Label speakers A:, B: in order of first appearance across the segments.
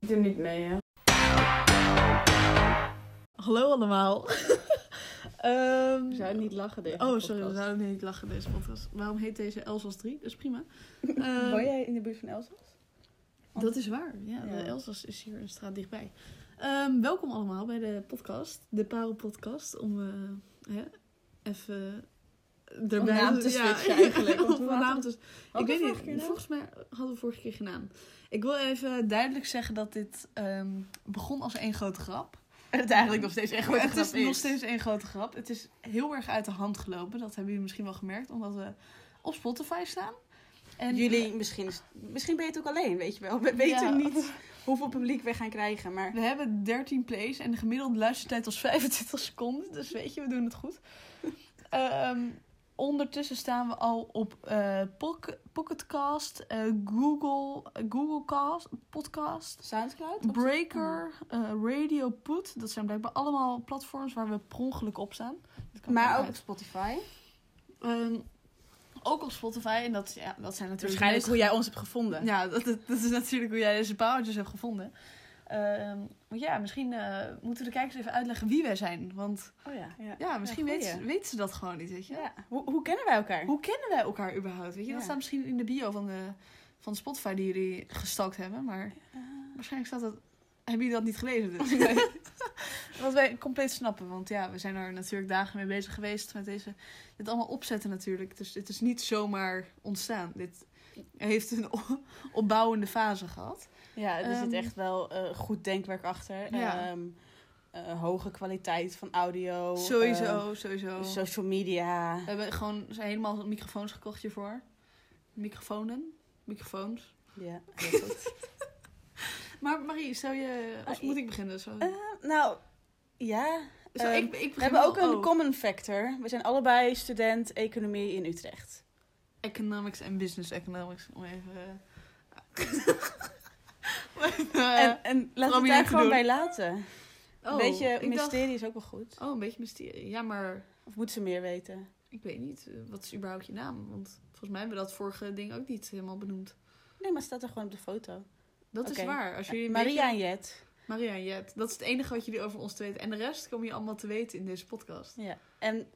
A: Doe niet mee, hè?
B: Hallo allemaal. Ehm,
C: We zouden niet lachen, deze
B: Oh, sorry, we
C: podcast.
B: zouden niet lachen deze podcast. Waarom heet deze Elsa's 3? Dat is prima. Ehm,
C: Woon jij in de buurt van Elsa's?
B: Dat is waar. Ja,
C: Ja.
B: De Elsass is hier een straat dichtbij. Ehm, welkom allemaal bij de podcast, de Parel Podcast, om eh, hè, even erbij
C: naam te switchen eigenlijk, want
B: om
C: hoe
B: een
C: laten
B: naam
C: we-
B: te-
C: Had
B: ik
C: dat
B: weet
C: vorige
B: niet,
C: keer nou?
B: volgens mij hadden we vorige keer gedaan. Ik wil even duidelijk zeggen dat dit ehm, begon als één grote grap.
C: En het eigenlijk nog steeds echt
B: Maar het is, nog steeds één grote grap. Het is heel erg uit de hand gelopen. Dat hebben jullie misschien wel gemerkt, omdat we op Spotify staan. En
C: Jullie, misschien, misschien ben je het ook alleen, weet je wel. We weten
B: Ja.
C: niet hoeveel publiek we gaan krijgen, maar...
B: We hebben 13 plays en de gemiddelde luistertijd was 25 seconden. Dus weet je, we doen het goed. Ehm, ondertussen staan we al op eh Poc- Pocketcast, eh, Google, Googlecast, Podcast,
C: Soundcloud? Op- Oh.
B: Breaker, eh, Radio Put. Dat zijn blijkbaar allemaal platforms waar we per ongeluk op staan. Dat kan
C: Maar
B: niet
C: ook op
B: uit.
C: Spotify.
B: Ehm, ook op Spotify. En dat, ja, dat zijn natuurlijk... de meest-
C: jij ons hebt gevonden.
B: Ja, dat, dat, dat is natuurlijk hoe jij deze powertjes hebt gevonden. Ehm, maar ja, misschien eh, moeten we de kijkers even uitleggen wie wij zijn. Want
C: Oh ja. Ja,
B: ja, misschien
C: Ja,
B: weten,
C: goeie.
B: ze, weten ze dat gewoon niet, weet je.
C: Ja. Hoe, hoe kennen wij elkaar?
B: Hoe kennen wij elkaar überhaupt, weet je? Dat
C: Ja.
B: staat misschien in de bio van, de, van Spotify die jullie gestalkt hebben. Maar
C: Eh,
B: waarschijnlijk staat dat... Hebben jullie dat niet gelezen? Dus? Wat wij compleet snappen. Want ja, we zijn er natuurlijk dagen mee bezig geweest met deze... Dit allemaal opzetten natuurlijk. Dus dit is niet zomaar ontstaan. Dit heeft een o- opbouwende fase gehad.
C: Ja, er zit
B: Ehm,
C: echt wel eh, goed denkwerk achter.
B: Ja.
C: Ehm, eh, hoge kwaliteit van audio. ehm,
B: Sowieso, Eh. sowieso.
C: social media.
B: We hebben gewoon ze helemaal microfoons gekocht hiervoor. Microfonen. Microfoons.
C: Ja, heel goed.
B: Maar Marie, stel je... Of
C: Ah,
B: moet ik beginnen? Zo.
C: nou, ja.
B: Zo,
C: ehm,
B: ik, ik begin
C: We hebben ook
B: wel-
C: een
B: oh,
C: common factor. We zijn allebei student economie in Utrecht.
B: Economics en business economics. Om even... eh, om even, eh,
C: en, en laten we het
B: prominent
C: daar
B: te
C: gewoon
B: doen.
C: bij laten.
B: oh,
C: een beetje
B: ik dacht-
C: mysterie is ook wel goed.
B: oh, een beetje mysterie. Ja, maar
C: Of moeten ze meer weten?
B: ik weet niet. eh, Wat is überhaupt je naam? Want volgens mij hebben we dat vorige ding ook niet helemaal benoemd.
C: Nee, maar het staat er gewoon op de foto.
B: Dat is
C: Oké.
B: waar. Als jullie een beetje-
C: Maria en Jet.
B: Maria en Jet. Dat is het enige wat jullie over ons te weten. En de rest kom je allemaal te weten in deze podcast.
C: Ja. En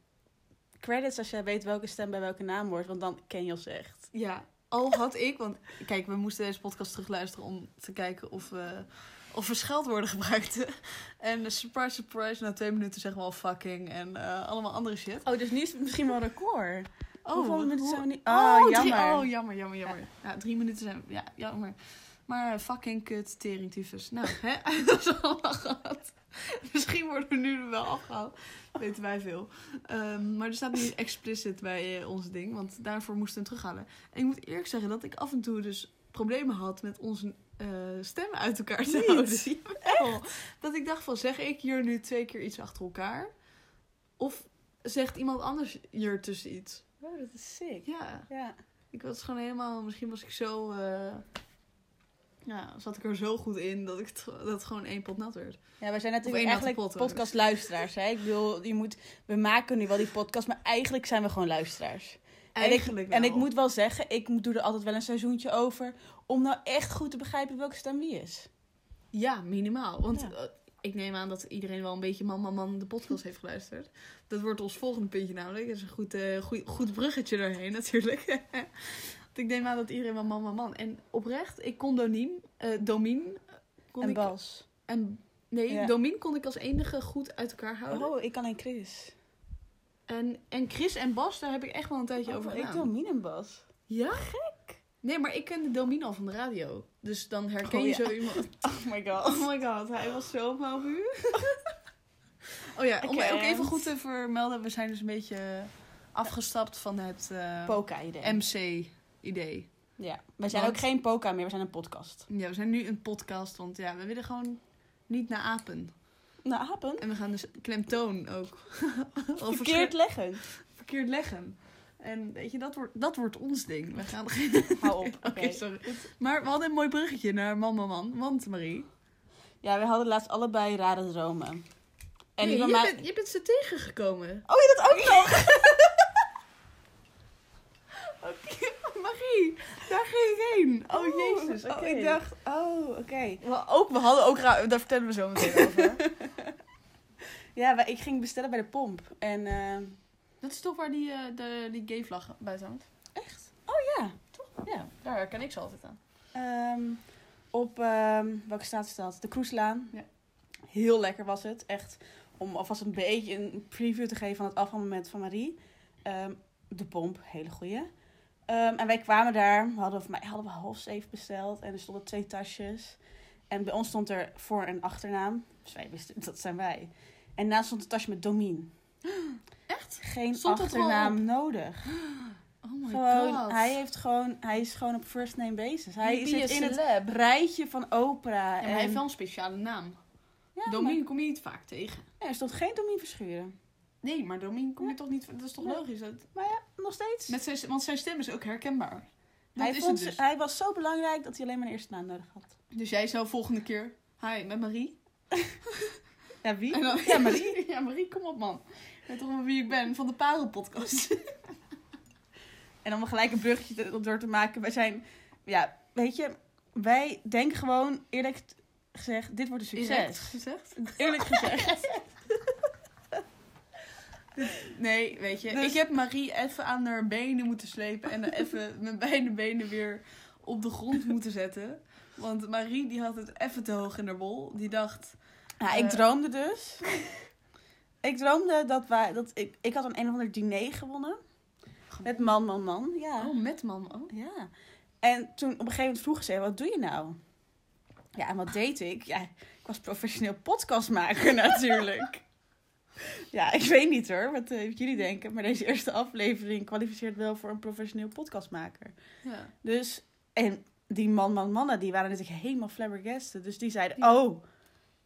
C: credits als jij weet welke stem bij welke naam hoort, want dan ken je ons echt.
B: Ja, al had ik... Want kijk, we moesten deze podcast terugluisteren om te kijken of, we of er scheldwoorden gebruikten. En eh, surprise, surprise, na twee minuten zeggen we al fucking en eh, allemaal andere shit.
C: Oh, dus nu is het misschien wel een record.
B: Oh,
C: Hoeveel
B: hoe-
C: minuten zijn we niet-
B: Oh,
C: Oh,
B: drie-
C: jammer.
B: oh, jammer, jammer, jammer. Ja. drie minuten zijn we... Ja, jammer. Maar eh, fucking kut, tering, tyfus. Nou, hè, dat is allemaal gehad. Misschien worden we nu er wel afgehaald. Weten wij veel. Ehm, maar er staat niet explicit bij eh, ons ding, want daarvoor moesten we hem terughalen. En ik moet eerlijk zeggen dat ik af en toe dus problemen had met onze eh, stemmen uit elkaar te houden. Jawel. Dat ik dacht van, zeg ik hier nu twee keer iets achter elkaar? Of zegt iemand anders hier tussen iets?
C: Oh, dat is sick.
B: Ja,
C: Ja.
B: ik was gewoon helemaal. Misschien was ik zo. eh, ja, zat ik er zo goed in dat, ik het, dat het gewoon één pot nat werd.
C: Ja, wij zijn
B: Of één
C: natuurlijk
B: natte
C: eigenlijk
B: pot, hoor.
C: podcastluisteraars. Hè? Ik bedoel, je moet, we maken nu wel die podcast, maar eigenlijk zijn we gewoon luisteraars.
B: Eigenlijk
C: en ik,
B: wel.
C: en ik moet wel zeggen, ik moet- doe er altijd wel een seizoentje over om nou echt goed te begrijpen welke stem wie is.
B: Ja, minimaal. Want
C: Ja.
B: eh, ik neem aan dat iedereen wel een beetje Man, Man, Man de podcast heeft geluisterd. Dat wordt ons volgende puntje namelijk. Dat is een goed, eh, goed, goed bruggetje daarheen natuurlijk. Want ik neem aan dat iedereen wel Man, Man, Man. En oprecht, ik kon Doniem. eh Domien. eh, Kon
C: en
B: ik,
C: Bas.
B: en, nee,
C: Ja.
B: Domien kon ik als enige goed uit elkaar houden.
C: Oh, ik alleen Chris.
B: En, en Chris en Bas, daar heb ik echt wel een tijdje over
C: Oh, ik
B: gedaan.
C: doe Mien en Bas.
B: Ja? Gek. Nee, maar ik kende Domino van de radio. Dus dan herken
C: Oh,
B: je
C: ja.
B: zo iemand.
C: Oh my god.
B: Oh my god, hij was zo op mijn vuur. oh ja, om
C: Oké.
B: ook even goed te vermelden. We zijn dus een beetje afgestapt van het eh,
C: Poka-idee.
B: MC-idee.
C: Ja, wij zijn
B: Want-
C: ook geen Poka meer, we zijn een podcast.
B: Ja, we zijn nu een podcast, want ja, we willen gewoon niet naar apen.
C: Nou, apen.
B: En we gaan dus klemtoon ook. Al
C: Verkeerd
B: versche-
C: leggen.
B: verkeerd leggen. En weet je, dat wordt, dat wordt ons ding. We gaan
C: Hou op. Oké.
B: Oké, sorry. Maar we hadden een mooi bruggetje naar man, man, man. Want Marie...
C: Ja, we hadden laatst allebei rare dromen. En
B: Nee,
C: die van
B: je,
C: mij-
B: bent, je bent ze tegengekomen.
C: Oh, je dat ook nog?
B: Oké, Marie, sorry. Daar ging ik heen. Oh,
C: Oeh,
B: jezus.
C: oké.
B: Ik dacht, oh, oké.
C: We, ook, we hadden ook, ra- daar vertellen we zo meteen over. ja, wij- ik ging bestellen bij de pomp. En eh,
B: Dat is toch waar die, eh, de, die gay vlag buiten hangt?
C: echt? Oh ja.
B: Ja, daar herken ik ze altijd aan.
C: Ehm, op, ehm, welke straat is dat? De Kroeslaan.
B: Ja.
C: Heel lekker was het. Echt, om alvast een beetje een preview te geven van het afvalmoment van Marie. Ehm, de pomp, hele goeie. Ehm, en wij kwamen daar. We hadden, voor mij hadden we half zeven besteld. En er stonden twee tasjes. En bij ons stond er voor- en achternaam. Dus wij wisten, dat zijn wij. En naast stond een tasje met Domien.
B: Echt?
C: Geen
B: Stond dat gewoon
C: achternaam nodig.
B: Oh my
C: Gewoon,
B: god.
C: hij, heeft gewoon, hij is gewoon op first name basis. Hij
B: Die
C: zit
B: is
C: in het
B: celeb.
C: rijtje van Oprah.
B: Ja, maar
C: en...
B: hij heeft wel een speciale naam.
C: Ja,
B: Domien
C: maar-
B: kom je niet vaak tegen.
C: Ja, er stond geen Domien Verschuren.
B: Nee, maar Domien kom je toch niet... Dat is toch
C: Nee.
B: logisch? Dat,
C: Nog steeds.
B: met zijn, want zijn stem is ook herkenbaar. Dat
C: hij,
B: is
C: vond
B: het
C: ze-
B: dus.
C: hij was zo belangrijk dat hij alleen maar een eerste naam nodig had.
B: Dus jij zou volgende keer... Hi, met Marie.
C: Ja, wie?
B: En dan-
C: Ja, Marie.
B: ja, Marie, kom op man. Ik weet toch wel wie ik ben van de Parelpodcast.
C: En om gelijk een bruggetje te- door te maken. Wij zijn, ja, weet je, wij denken gewoon eerlijk t- gezegd, dit wordt een
B: Direct
C: succes.
B: gezegd.
C: Eerlijk gezegd.
B: Nee, weet je.
C: Dus-
B: Ik heb Marie even aan haar benen moeten slepen. En even met beide benen weer op de grond moeten zetten. Want Marie die had het even te hoog in haar bol. Die dacht...
C: Nou, ik
B: Eh.
C: droomde dus. ik droomde dat wij, dat ik, ik had een een of ander diner gewonnen. Met man, man, man. Ja.
B: Oh, met man. Oh.
C: Ja. En toen op een gegeven moment vroeg ze, wat doe je nou? Ja, en wat deed ik? Ja, ik was professioneel podcastmaker natuurlijk. ja, ik weet niet hoor, wat, eh, wat jullie denken. Maar deze eerste aflevering kwalificeert wel voor een professioneel podcastmaker.
B: Ja.
C: Dus, en die man, man, mannen, die waren dus natuurlijk helemaal flabbergasted. Dus die zeiden,
B: Ja.
C: oh,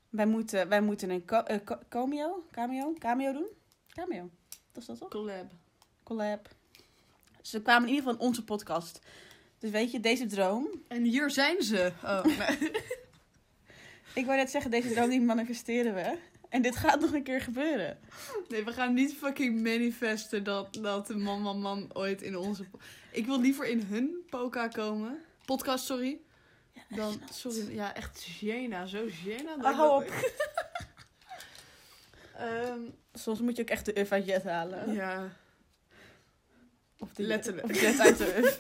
C: wij moeten, wij moeten een co- eh, co- cameo, cameo, cameo doen. Cameo, dat is dat toch?
B: Collab.
C: collab. Ze kwamen in ieder geval in onze podcast. Dus weet je, deze droom.
B: En hier zijn ze. Oh, nee.
C: Ik wou net zeggen, deze droom die manifesteren we. En dit gaat nog een keer gebeuren.
B: Nee, we gaan niet fucking manifesten dat, dat de man, man, man ooit in onze... po- Ik wil liever in hun poka komen. Podcast, sorry. Dan, sorry, ja, echt Jena, zo Jena.
C: Oh, hou op.
B: Ehm,
C: Soms moet je ook echt de uf uit jet halen.
B: ja,
C: Of de
B: letterlijk.
C: Of jet uit de uf.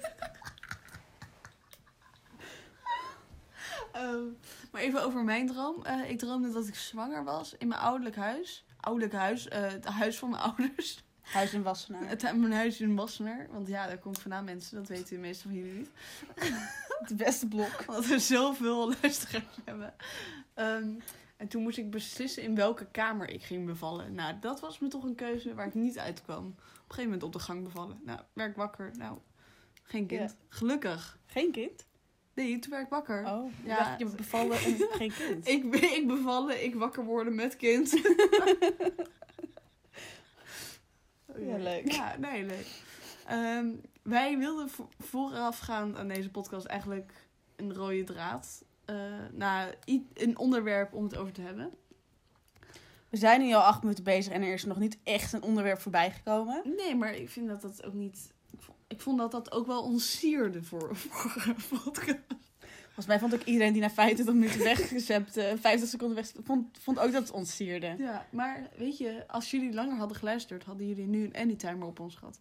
B: Ehm, maar even over mijn droom. Eh, ik droomde dat ik zwanger was in mijn ouderlijk huis. Ouderlijk huis, eh, het huis van mijn ouders.
C: Huis in Wassenaar.
B: Het, mijn huis in Wassenaar. Want ja, daar kom ik vandaan, mensen. Dat weten de meesten van jullie niet.
C: Het beste blok.
B: Omdat we zoveel luisteraars hebben. Ehm, en toen moest ik beslissen in welke kamer ik ging bevallen. Nou, dat was me toch een keuze waar ik niet uitkwam. Op een gegeven moment op de gang bevallen. Nou, werd ik wakker. Nou, geen kind. Gelukkig.
C: Geen kind?
B: Nee, toen werd ik wakker.
C: Oh,
B: Ja.
C: ja. je bevallen en geen kind.
B: Ik, ben- ik bevallen, ik wakker worden met kind. Oh,
C: Ja, leuk.
B: Ja, nee, leuk. Ehm, wij wilden vo- voorafgaand aan deze podcast eigenlijk een rode draad. eh nou, i- een onderwerp om het over te hebben.
C: We zijn nu al acht minuten bezig en er is nog niet echt een onderwerp voorbij gekomen.
B: Nee, maar ik vind dat dat ook niet... Ik vond, ik vond dat dat ook wel ons sierde voor voor een podcast.
C: Volgens mij vond ook iedereen die na 25 minuten weggezept, eh, 50 seconden weg, vond, vond ook dat het ons sierde.
B: Ja, maar weet je, als jullie langer hadden geluisterd, hadden jullie nu een anytimer op ons gehad.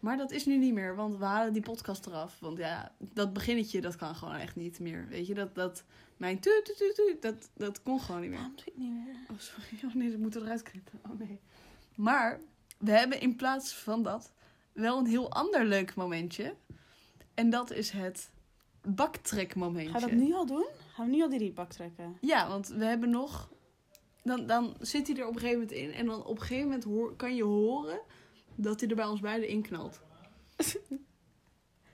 B: Maar dat is nu niet meer, want we halen die podcast eraf. Want ja, dat beginnetje, dat kan gewoon echt niet meer. Weet je, dat, dat mijn tu tu tu tu, dat, dat kon gewoon niet meer.
C: doe ik het niet meer?
B: Oh, sorry. Oh nee, dat moeten we eruit knippen. Oh nee. Maar we hebben in plaats van dat wel een heel ander leuk momentje. En dat is het baktrekmomentje.
C: Gaan we dat nu al doen? Gaan we nu al die rietbak trekken?
B: Ja, want we hebben nog. Dan, dan zit hij er op een gegeven moment in. En dan op een gegeven moment hoor, kan je horen dat hij er bij ons beiden in knalt.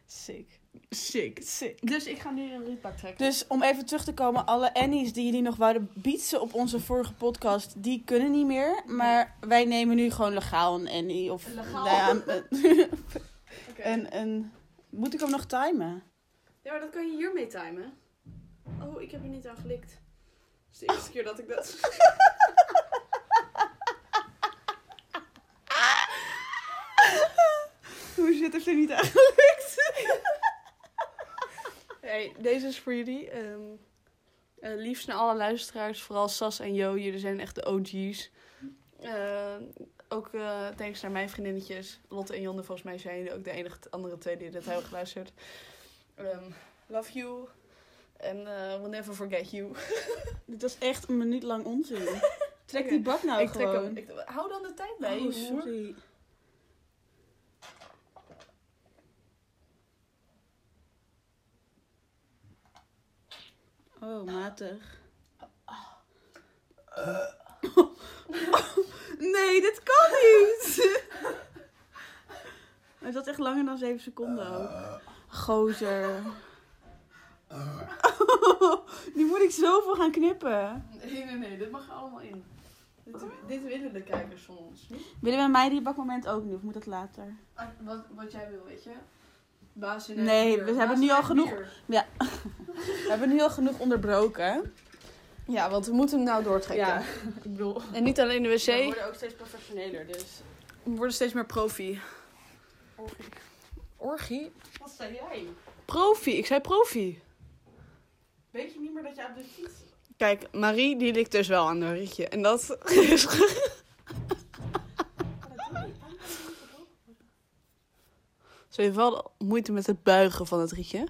C: Sick.
B: Sick.
C: Sick.
B: Dus ik ga nu een rietbak trekken.
C: Dus om even terug te komen, alle Annie's die jullie nog wouden bietsen op onze vorige podcast, die kunnen niet meer. Maar wij nemen nu gewoon legaal een Annie. Of
B: Legaal?
C: Nou ja, een,
B: Oké.
C: een, een- Moet ik hem nog timen?
B: Ja, maar dat kan je hiermee timen. Oh, ik heb er niet aan gelikt. Dat is de eerste keer dat ik dat...
C: Hoe zit het er niet aan gelukt?
B: Hey, deze is voor jullie. Ehm, eh, liefst naar alle luisteraars, vooral Sas en Jo. Jullie zijn echt de OG's. Ehm, ook eh thanks naar mijn vriendinnetjes. Lotte en Jonne, volgens mij zijn jullie ook de enige andere twee die dit hebben geluisterd. Ehm, love you. En eh, we'll never forget you.
D: Dit was echt een minuut lang onzin. Trek
B: Oké.
D: die bak nou
B: ik trek
D: gewoon.
B: hem. Ik, hou dan de tijd bij,
D: oh,
B: hoor.
D: sorry. Oh, matig. nee, dit kan niet. Hij zat echt langer dan 7 seconden ook. Eh. Gozer. nu moet ik zoveel gaan knippen.
B: Nee, nee, nee. Dit mag er allemaal in. Dit, dit willen de kijkers van ons.
D: Willen we mij die bakmoment ook nu of moet dat later?
B: Ah, Wat, wat jij wil, weet je. Baas in
D: Nee,
B: eigen
D: we
B: bier.
D: hebben
B: Baas
D: nu
B: in
D: al
B: eigen
D: genoeg.
B: bier.
D: We hebben nu al genoeg onderbroken.
B: Ja, want we moeten hem nou doortrekken.
D: ik bedoel.
B: En niet alleen de wc.
D: We
B: We
D: worden ook steeds professioneler, dus.
B: worden steeds meer profi. Orgie?
D: Wat zei jij?
B: Profi, ik zei profi.
D: Weet je niet meer dat je aan de fiets.
B: Kijk, Marie die likt dus wel aan haar rietje. En dat is... Ze heeft wel moeite met het buigen van het rietje.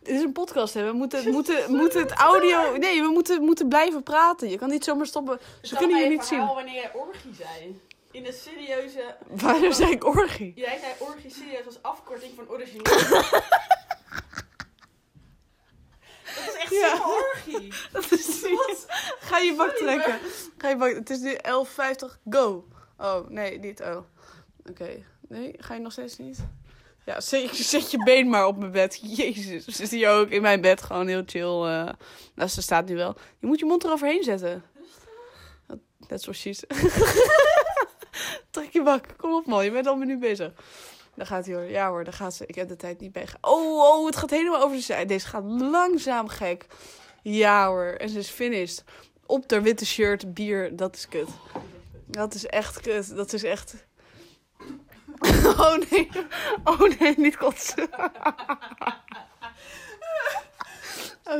B: Dit is een podcast, hè. We moeten, moeten, moeten het audio... Nee, we moeten, moeten blijven praten. Je kan niet zomaar stoppen. Ze kunnen je niet zien.
D: wanneer jij orgie zei. In een serieuze.
B: Waarom zei ik orgie?
D: Jij zei orgie serieus als afkorting van origineel. dat is echt
B: Ja.
D: super orgie.
B: Dat is niet. Ga je bak trekken. Ga je bak... Het is nu 11.50. Go. Oh, nee, niet. Oh. Oké. Nee, ga je nog steeds niet? Ja, zet je, zet je been maar op mijn bed. Jezus. Zit hier ook in mijn bed gewoon heel chill. eh. nou, ze staat nu wel. Je moet je mond eroverheen zetten. Net zoals she's. Trek je bak. Kom op, man. Je bent al een minuut bezig. Daar gaat hij hoor. Ja hoor, daar gaat ze. Ik heb de tijd niet bij. Oh, oh, het gaat helemaal over de zij. Deze gaat langzaam gek. Ja hoor, en ze is finished. Op haar witte shirt, bier, dat is kut. Dat is echt kut, dat is echt... Oh nee, oh nee, niet kotsen.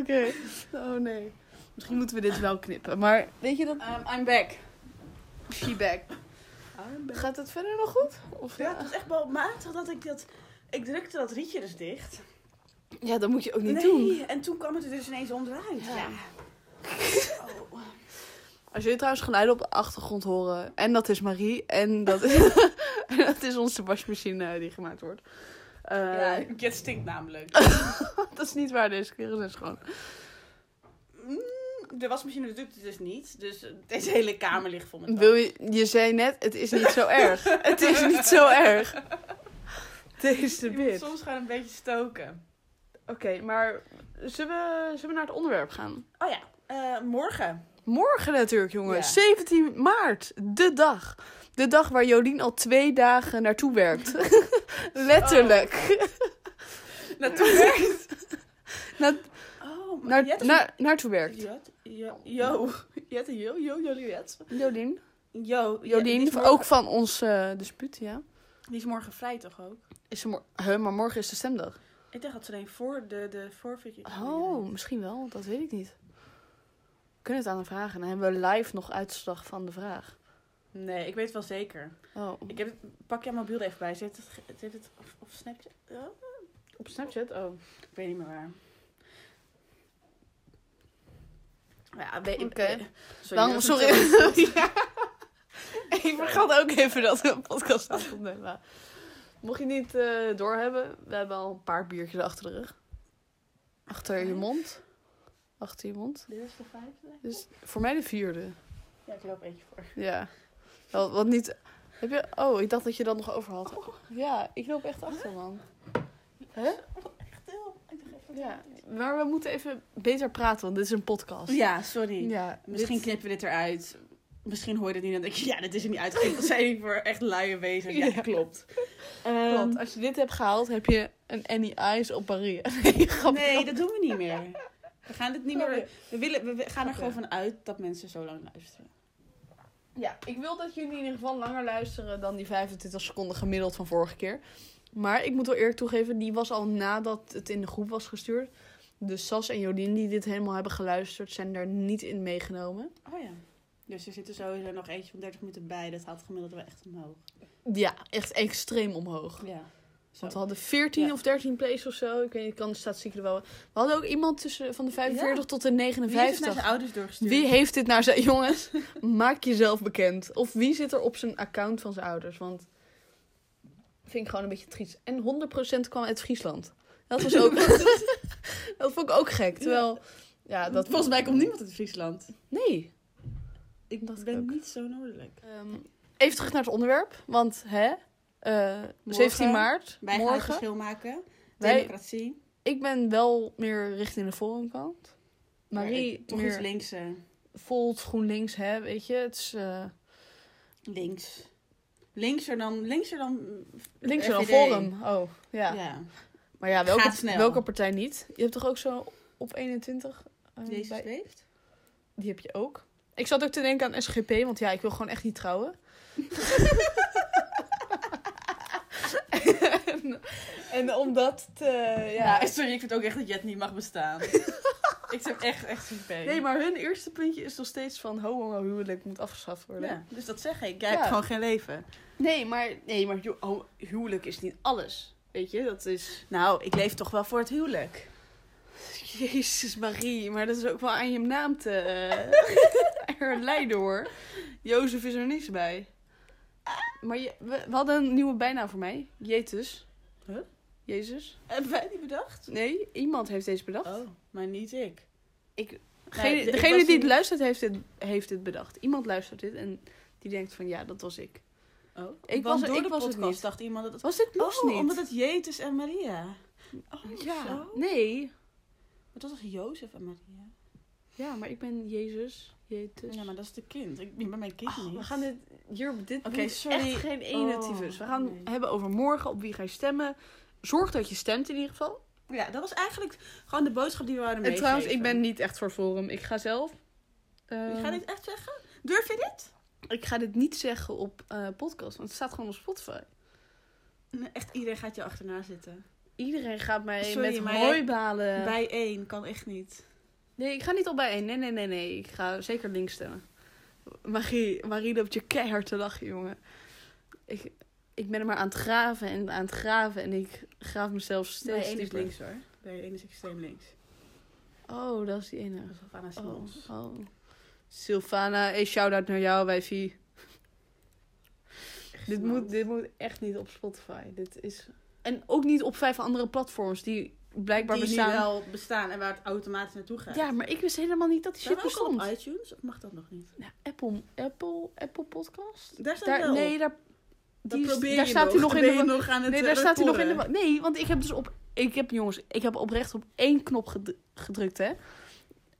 B: Oké, oh nee. Misschien moeten we dit wel knippen, maar weet je dat...
C: Ehm,
D: Um, I'm back.
B: She back. Gaat het verder nog goed? Of eh,
D: Ja, het was echt wel matig dat ik dat. Ik drukte dat rietje dus dicht.
B: ja, dat moet je ook niet
D: nee,
B: doen.
D: en toen kwam het er dus ineens onderuit.
B: Ja.
D: Ja. Oh.
B: Als jullie trouwens geluiden op de achtergrond horen, en dat is Marie, en dat, en dat is onze wasmachine eh, die gemaakt wordt. Eh, Oh.
D: Ja, het stinkt namelijk.
B: Dat is niet waar, deze kleren zijn schoon.
D: Mm, de wasmachine doet het dus niet. Dus eh, deze hele kamer ligt vol met
B: Wil je, je zei net, het is niet zo erg. Het is niet zo erg. Deze
D: Je moet
B: bitch.
D: soms gewoon een beetje stoken.
B: Oké, maar zullen we, zullen we naar het onderwerp gaan?
D: Oh ja, eh, morgen.
B: Morgen natuurlijk, jongen.
D: Ja.
B: 17 maart, de dag. De dag waar Jolien al twee dagen naartoe werkt. Letterlijk.
D: Naartoe werkt.
B: Na,
D: Oh, maar
B: naar,
D: Jet is-
B: na- naartoe werkt.
D: Jet, Jo- Yo. Jet en Yo, Yo, Joliet.
B: Jolien.
D: Yo, Ja,
B: Jolien,
D: die is morgen-
B: ook van ons eh, dispuut, ja.
D: Die is morgen vrij toch ook?
B: Is ze mor- Huh, maar morgen is de stemdag.
D: Ik dacht dat ze alleen voor de, de voorverkiezing.
B: Oh, misschien wel. Dat weet ik niet. We kunnen het aan hem vragen. Dan hebben we live nog uitslag van de vraag.
D: Nee, ik weet het wel zeker.
B: Oh.
D: Ik heb, het- pak jouw mobiel er even bij. Zit het, ge- zit het of, of Snapchat? Oh,
B: Op Snapchat? Oh.
D: ik weet niet meer waar. Ja, weet ik.
B: Oké.
D: eh,
B: Dan,
D: dat
B: sorry.
D: ik-
B: Ja. Ik vergat ook even dat we een podcast aan het opnemen waren. Mocht je niet eh, doorhebben, we hebben al een paar biertjes achter de rug. Achter je mond. Achter je mond.
D: Dit is de vijfde.
B: Dus voor mij de vierde.
D: Ja, ik loop eentje voor.
B: Ja. Wel, Wat niet. Heb je... Oh, ik dacht dat je dat nog over had.
D: Oh.
B: Ja, ik loop echt achter, man. Hè?
D: Stil. Ik dacht even.
B: Ja. Maar we moeten even beter praten, want dit is een podcast.
D: Ja, sorry.
B: Ja,
D: Misschien
B: dit-
D: knippen we dit eruit. Misschien hoor je dit niet en denk je, ja, dit is er niet uitgekomen. Dat zijn jullie voor echt luie wezens. Ja,
B: Ja.
D: klopt.
B: Want
D: Ehm,
B: als je dit hebt gehaald, heb je een Annie Eyes op Marie. Nee, grapje.
D: nee, dat doen we niet meer. We gaan dit niet meer... We, willen, we- we gaan er
B: Oké.
D: gewoon van uit dat mensen zo lang luisteren.
B: Ja, ik wil dat jullie in ieder geval langer luisteren dan die 25 seconden gemiddeld van vorige keer. Maar ik moet wel eerlijk toegeven, die was al nadat het in de groep was gestuurd. Dus Sas en Jolien, die dit helemaal hebben geluisterd, zijn daar niet in meegenomen.
C: Oh ja. Dus er zit er sowieso nog eentje van 30 minuten bij. Dat haalt gemiddeld wel echt omhoog.
B: Ja, echt extreem omhoog.
C: Ja. Zo.
B: Want we hadden 14
C: Ja.
B: of 13 plays of zo. Ik weet niet, ik kan de statistieken er wel. We hadden ook iemand tussen van de 45
C: Ja.
B: tot de
C: Wie heeft het
B: 59.
C: naar zijn ouders doorgestuurd?
B: Wie heeft dit naar zijn jongens? Maak jezelf bekend. Of wie zit er op zijn account van zijn ouders? Want vind ik gewoon een beetje triest. En 100% kwam uit Friesland. Dat was ook. dat vond ik ook gek. Terwijl, ja, dat
C: Volgens mij komt niemand uit Friesland.
B: Nee.
C: Ik
B: Dacht ik
C: ben
B: ook.
C: niet zo noordelijk.
B: Ehm, even terug naar het onderwerp. Want hè? eh, 17
C: Morgen.
B: maart.
C: Wij gaan dus- het
B: morgen.
C: verschil maken.
B: Wij-
C: Democratie.
B: Ik ben wel meer richting de forumkant. Marie
C: Maar toch iets
B: meer
C: links. eh,
B: volt GroenLinks, hè, weet je. Het is eh,
C: links. Linkser dan... Linkser dan...
B: links dan
C: FVD.
B: Forum. Oh, ja.
C: Ja. ja.
B: Maar ja, welke,
C: Gaat snel.
B: welke partij niet? Je hebt toch ook zo op 21? eh,
C: Jezus
B: bij-
C: leeft.
B: die heb je ook. Ik zat ook te denken aan SGP, want ja, ik wil gewoon echt niet trouwen. en, en om dat te... Ja,
C: Nou, sorry, ik vind ook echt dat Jet niet mag bestaan. ik heb echt, echt een pijn.
B: nee, maar hun eerste puntje is nog steeds van homo-huwelijk moet afgeschaft worden.
C: Ja, dus dat zeg ik. Jij
B: Ja.
C: hebt gewoon geen leven.
B: Nee, maar, nee, maar hu- oh, huwelijk is niet alles. Weet je, dat is.
C: Nou, ik leef toch wel voor het huwelijk.
B: Jezus Marie, maar dat is ook wel aan je naam te eh, herleiden hoor. Jozef is er niks bij. Maar je, we, we hadden een nieuwe bijnaam voor mij: Jetus.
C: Huh?
B: Jezus?
C: Hebben wij die bedacht?
B: Nee, iemand heeft deze bedacht.
C: Oh, maar niet ik.
B: Ik,
C: Nee,
B: Degene-
C: ik
B: degene
C: was
B: die
C: niet-
B: het luistert, heeft dit, heeft dit bedacht. Iemand luistert dit en die denkt: van ja, dat was ik.
C: Oh.
B: Ik
C: Want
B: was-
C: door
B: ik
C: de
B: was het
C: podcast
B: niet.
C: dacht iemand dat het...
B: Was dit moest
C: oh,
B: niet?
C: omdat het Jezus en Maria.
B: ja,
C: zo.
B: nee.
C: Maar dat was Jozef en Maria.
B: Ja, maar ik ben Jezus. Jetus.
C: Ja, maar dat is de kind. Ik ben mijn kind
B: Dus- Oh,
C: niet.
B: we gaan dit hier dit
C: Oké,
B: doet
C: sorry.
B: echt geen ene
C: Oh,
B: tyfus. We gaan
C: nee.
B: hebben over morgen op wie ga je stemmen. Zorg dat je stemt in ieder geval.
C: Ja, dat was eigenlijk gewoon de boodschap die we hadden
B: En
C: meegegeven.
B: trouwens, ik ben niet echt voor Forum. Ik ga zelf.
C: Je
B: ehm,
C: gaat dit echt zeggen? Durf je dit?
B: Ik ga dit niet zeggen op eh, podcast, want het staat gewoon op Spotify.
C: Nee, echt, iedereen gaat je achterna zitten.
B: Iedereen gaat mij
C: Sorry,
B: met
C: maar-
B: hooibalen.
C: Bij één kan echt niet.
B: Nee, ik ga niet op bij één. Nee, nee, nee, nee. Ik ga zeker links stemmen. Marie, Marie loopt je keihard te lachen, jongen. Ik, ik ben er maar aan het graven en aan het graven. En ik graaf mezelf steeds
C: Bij één is
B: dieper.
C: links hoor. Bij één is extreem links.
B: Oh, dat is die ene.
C: Dat is Havana
B: Oh,
C: Simons.
B: oh. Sylvana, hey, shout-out naar jou, wijfie. Dit moet, dit moet echt niet op Spotify. Dit is... En ook niet op vijf andere platforms die blijkbaar
C: die
B: bestaan.
C: nu wel bestaan en waar het automatisch naartoe gaat.
B: Ja, maar ik wist helemaal niet dat die
C: Zijn
B: shit
C: we ook al
B: bestond.
C: op iTunes? Of mag dat nog niet?
B: Ja, Nou, Apple, Apple, Apple Podcast?
C: Daar staat
B: Daar,
C: wel
B: nee,
C: op.
B: daar,
C: Dat
B: die is-
C: probeer
B: daar
C: je
B: staat hij nog in
C: Ben
B: de-
C: je nog aan het
B: nee,
C: eh,
B: daar staat hij nog in
C: recorren.
B: de... Nee, want ik heb dus op... Ik heb, jongens, ik heb oprecht op één knop ged- gedrukt, hè.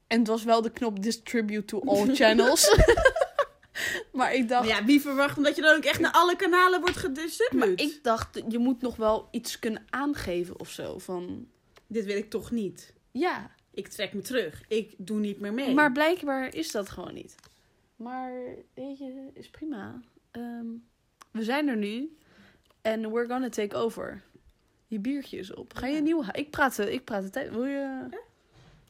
B: En het was wel de knop distribute to all channels. maar ik dacht...
C: Maar Ja, wie verwacht omdat je dan ook echt naar alle kanalen wordt gedistribueerd?
B: Maar ik dacht, je moet nog wel iets kunnen aangeven of zo. Van,
C: Dit wil ik toch niet.
B: ja,
C: Ik trek me terug. Ik doe niet meer mee.
B: maar blijkbaar is dat gewoon niet. Maar, weet je, is prima. Ehm, we zijn er nu. En we're gonna take over. Je biertje is op. Ga je een nieuw... ha- Ik praat, de- ik praat de tijd... Wil je...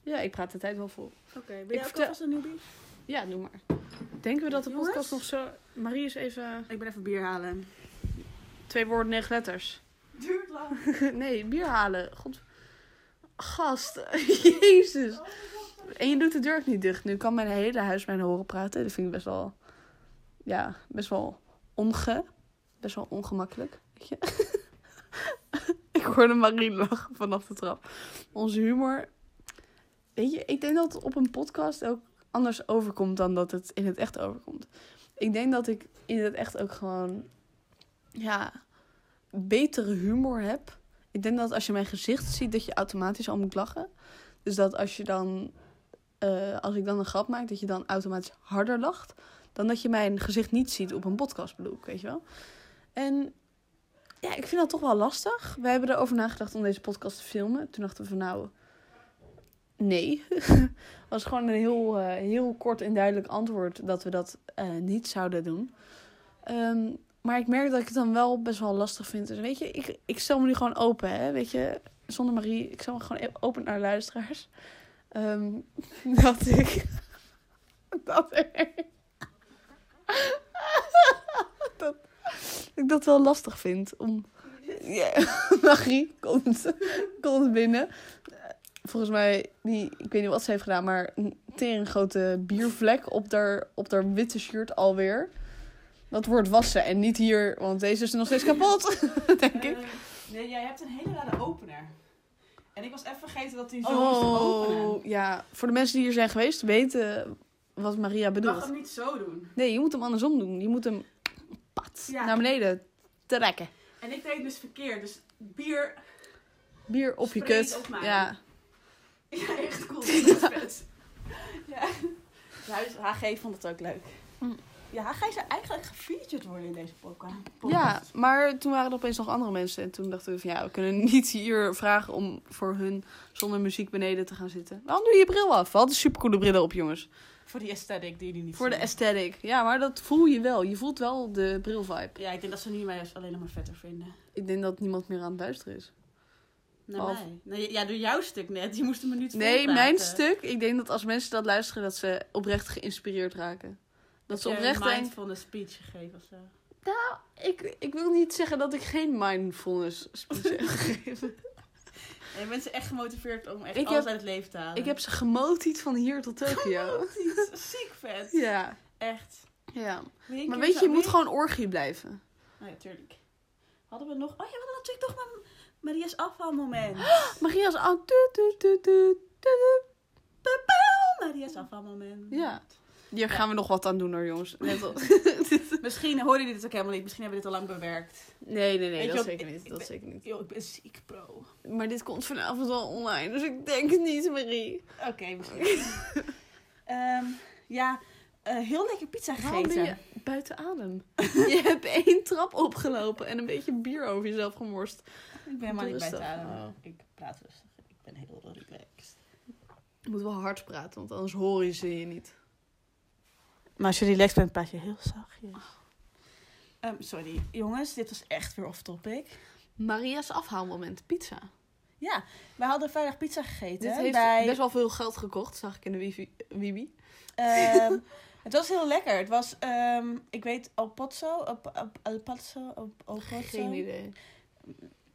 B: Ja, ik praat de tijd wel vol.
C: Oké, ben
B: Ik
C: jij ook
B: vertel- Nou,
C: alvast een newbie?
B: Ja, doe maar. Denken we dat de
C: Jongens?
B: podcast nog zo... Marie is even...
C: Ik ben even bier halen.
B: Twee woorden, negen letters.
C: Duurt lang.
B: Nee, bier halen. God. Gast. Jezus.
C: Oh,
B: En je doet de deur ook niet dicht. Nu kan mijn hele huis mij horen praten. Dat vind ik best wel... Ja, best wel onge... Best wel ongemakkelijk. Weet je? ik hoorde Marie lachen vanaf de trap. Onze humor... Weet je, ik denk dat het op een podcast ook anders overkomt dan dat het in het echt overkomt. Ik denk dat ik in het echt ook gewoon... Ja... Betere humor heb ik denk dat als je mijn gezicht ziet, dat je automatisch al moet lachen. Dus dat als je dan, eh, als ik dan een grap maak, dat je dan automatisch harder lacht. Dan dat je mijn gezicht niet ziet op een podcast bedoel ik, weet je wel. En ja, ik vind dat toch wel lastig. We hebben erover nagedacht om deze podcast te filmen. Toen dachten we van nou, nee. was gewoon een heel, eh, heel kort en duidelijk antwoord dat we dat eh, niet zouden doen. Ehm, maar ik merk dat ik het dan wel best wel lastig vind. Dus weet je, ik, ik stel me nu gewoon open, hè. Weet je, zonder Marie, ik zal gewoon even open naar de luisteraars. Ehm, dat ik. dat er. dat ik dat wel lastig vind om. Ja, Marie komt, komt binnen. Volgens mij, die, ik weet niet wat ze heeft gedaan, maar een tering grote biervlek op haar, op haar witte shirt alweer. Dat wordt wassen en niet hier, want deze is nog steeds kapot, denk ik.
D: Eh, nee, jij hebt een hele rare opener. En ik was even vergeten dat die zo moest openen.
B: Oh, ja. Voor de mensen die hier zijn geweest, weten wat Maria
D: Je mag
B: bedoelt.
D: hem niet zo doen.
B: Nee, je moet hem andersom doen. Je moet hem pat,
D: Ja.
B: naar beneden trekken.
D: En ik deed het dus verkeerd. Dus bier...
B: Bier op je
D: Spray
B: kut.
D: op mij.
B: Ja.
D: Ja, echt cool. Dat is vet. Ja. Ja, dus HG vond het ook leuk.
B: Hm.
D: Ja, HG zou eigenlijk gefeatured worden in deze podcast.
B: ja, maar toen waren er opeens nog andere mensen. En toen dachten we van ja, we kunnen niet hier vragen om voor hun zonder muziek beneden te gaan zitten. Waarom doe je je bril af? We hadden supercoole brillen op, jongens.
D: Voor die aesthetic die jullie niet
B: Voor de
D: zien.
B: aesthetic. Ja, maar dat voel je wel. Je voelt wel de bril-vibe.
D: Ja, ik denk dat ze nu mij juist alleen nog maar vetter vinden.
B: Ik denk dat niemand meer aan het luisteren is.
D: Naar
B: Behalve-
D: mij. Nee, ja, door jouw stuk net. Je moest een minuut
B: Nee,
D: volpraten.
B: mijn stuk. Ik denk dat als mensen dat luisteren, dat ze oprecht geïnspireerd raken. Dat ze
D: Heb jij
B: oprecht
D: een
B: denken...
D: mindfulness speech gegeven of zo.
B: Ik, ik wil niet zeggen dat ik geen mindfulness speech heb gegeven.
D: En mensen echt gemotiveerd om echt
B: Ik
D: alles
B: heb-
D: uit het leven te halen. Oh,
B: Ik heb ze gemotied van hier tot Tokio.
D: ziek vet.
B: Ja.
D: Echt.
B: ja.
D: Wil een
B: Maar
D: keer
B: weet je,
D: zo-
B: je moet gewoon orgie blijven.
D: Nou ja, tuurlijk. Hadden we nog... Oh ja, we hadden natuurlijk toch maar Maria's afvalmoment.
B: Ah, Maria is al... tu, tu, tu, tu, tu, tu.
D: Papow, Maria's afvalmoment.
B: Ja. Hier gaan we nog wat aan doen hoor, jongens. Net al-
D: Misschien horen jullie dit ook helemaal niet. Misschien hebben we dit al lang bewerkt.
B: Nee, nee,
D: Weet
B: nee.
D: je
B: Dat
D: wat,
B: zeker
D: ik-
B: niet.
D: ik
B: Dat
D: ben-
B: zeker niet.
D: Yo, ik ben ziek, bro.
B: Maar dit komt vanavond al online, dus ik denk het niet, Marie.
D: Oké, misschien. Ehm, ja, eh, heel lekker pizza
B: Waarom ben
D: gegeten.
B: je buiten adem? je hebt één trap opgelopen en een beetje bier over jezelf gemorst.
D: Ik ben helemaal niet bij
B: Rustig.
D: het ademen.
B: Oh.
D: Ik praat rustig. Ik ben heel relaxed.
B: Je moet wel hard praten, want anders horen ze je niet.
D: Maar als je relaxed bent, praat je heel zachtjes. Ah. Ehm, sorry, jongens. Dit was echt weer off-topic.
B: Maria's afhaalmoment, pizza.
D: Ja, we hadden vrijdag pizza gegeten.
B: Dit heeft
D: bij,
B: best wel veel geld gekocht, zag ik in de wifi- wibi.
D: ehm, het was heel lekker. Het was, ehm, ik weet, Al Pozzo. Op, op, Al Pozzo. Op, Al Pozzo.
B: Geen idee.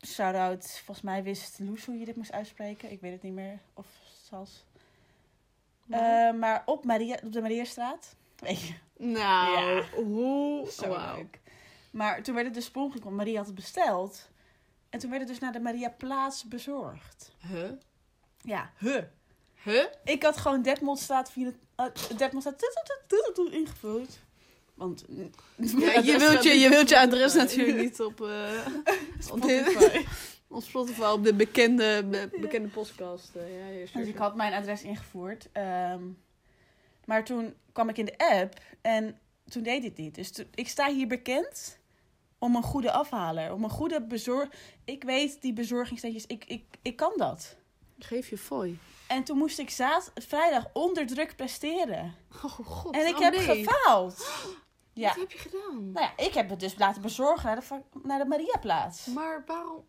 D: Shout-out. Volgens mij wist Loes hoe je dit moest uitspreken. Ik weet het niet meer. Of Sas.
B: Maar-
D: Eh, maar op, Maria, op de Mariastraat. Weet je,
B: nou,
D: ja.
B: hoe...
D: zo
B: wauw.
D: leuk. Maar toen werd het dus per ongeluk, want Maria had het besteld. En toen werd het dus naar de Maria Plaats bezorgd.
B: Huh?
D: Ja, huh.
B: Huh?
D: Ik had gewoon Detmoldstraat, 24 eh, Detmoldstraat tut, tut, tut, tut, tut, ingevuld. Want
B: Ja, je, wilt je, je wilt je adres natuurlijk niet op, eh, op,
D: Spotify.
B: op Spotify, op de bekende, be- bekende podcast. eh, ja, ja, sure,
D: Dus ik
B: sure.
D: had mijn adres ingevoerd. ehm, maar toen kwam ik in de app en toen deed dit niet. Dus toen- ik sta hier bekend om een goede afhaler. Om een goede bezorg... Ik weet die bezorgingssteentjes, ik, ik, ik kan dat.
B: Geef je fooi.
D: En toen moest ik zaad, vrijdag onder druk presteren.
B: Oh god,
D: en ik
B: oh,
D: heb
B: nee.
D: gefaald. Ja.
B: Wat heb je gedaan?
D: Nou ja, ik heb het dus laten bezorgen naar de, va- naar de Mariaplaats.
B: Maar waarom?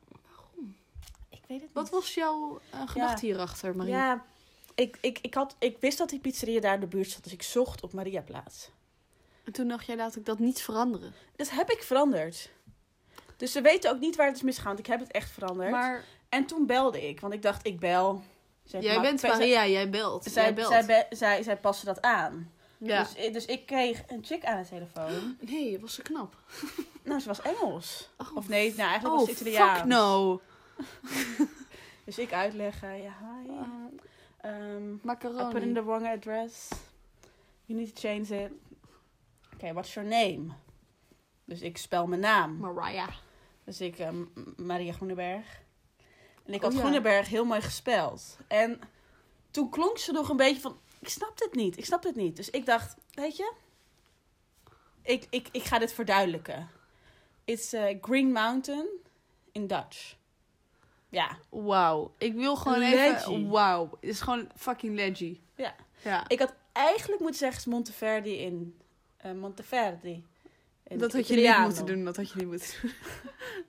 D: Ik weet het
B: Wat
D: niet.
B: was jouw eh, gedachte hierachter, Marie?
D: Ja, ik, ik, ik, had, ik wist dat die pizzeria daar in de buurt zat, dus ik zocht op Mariaplaats.
B: En toen dacht jij, laat ik dat niet veranderen.
D: Dat heb ik veranderd. Dus ze weten ook niet waar het is misgegaan, want ik heb het echt veranderd.
B: Maar
D: En toen belde ik, want ik dacht, ik bel. Zij
B: jij
D: maakt-
B: bent
D: zij-
B: Maria, jij belt.
D: Zij,
B: jij
D: zij,
B: belt.
D: zij, be- zij, zij passen dat aan.
B: ja.
D: Dus, dus ik kreeg een chick aan de telefoon.
B: Nee, was ze knap.
D: Nou, ze was Engels.
B: Oh,
D: Of nee, nou eigenlijk was
B: Oh,
D: ze Italiaans.
B: fuck no.
D: Dus ik uitleggen, ja, hi.
B: Uh,
D: Ehm, I put in
B: macaroni.
D: the wrong address. You need to change it. Oké, what's your name? Dus ik spel mijn naam.
B: Mariah.
D: Dus ik, ehm, M- Maria Groeneberg. En ik
B: Oh,
D: had
B: ja.
D: Groeneberg heel mooi gespeld. En toen klonk ze nog een beetje van, ik snap dit niet, ik snap dit niet. Dus ik dacht, weet je, ik, ik, ik ga dit verduidelijken. It's eh, Green Mountain in Dutch. Ja.
B: Wauw. Ik wil gewoon
D: Leggy.
B: even... Wauw. Het is gewoon fucking leggy.
D: Ja.
B: Ja.
D: Ik had eigenlijk moeten zeggen is Monteverdi in eh, Monteverdi.
C: En
B: dat had je niet moeten doen, dat had je niet moeten doen.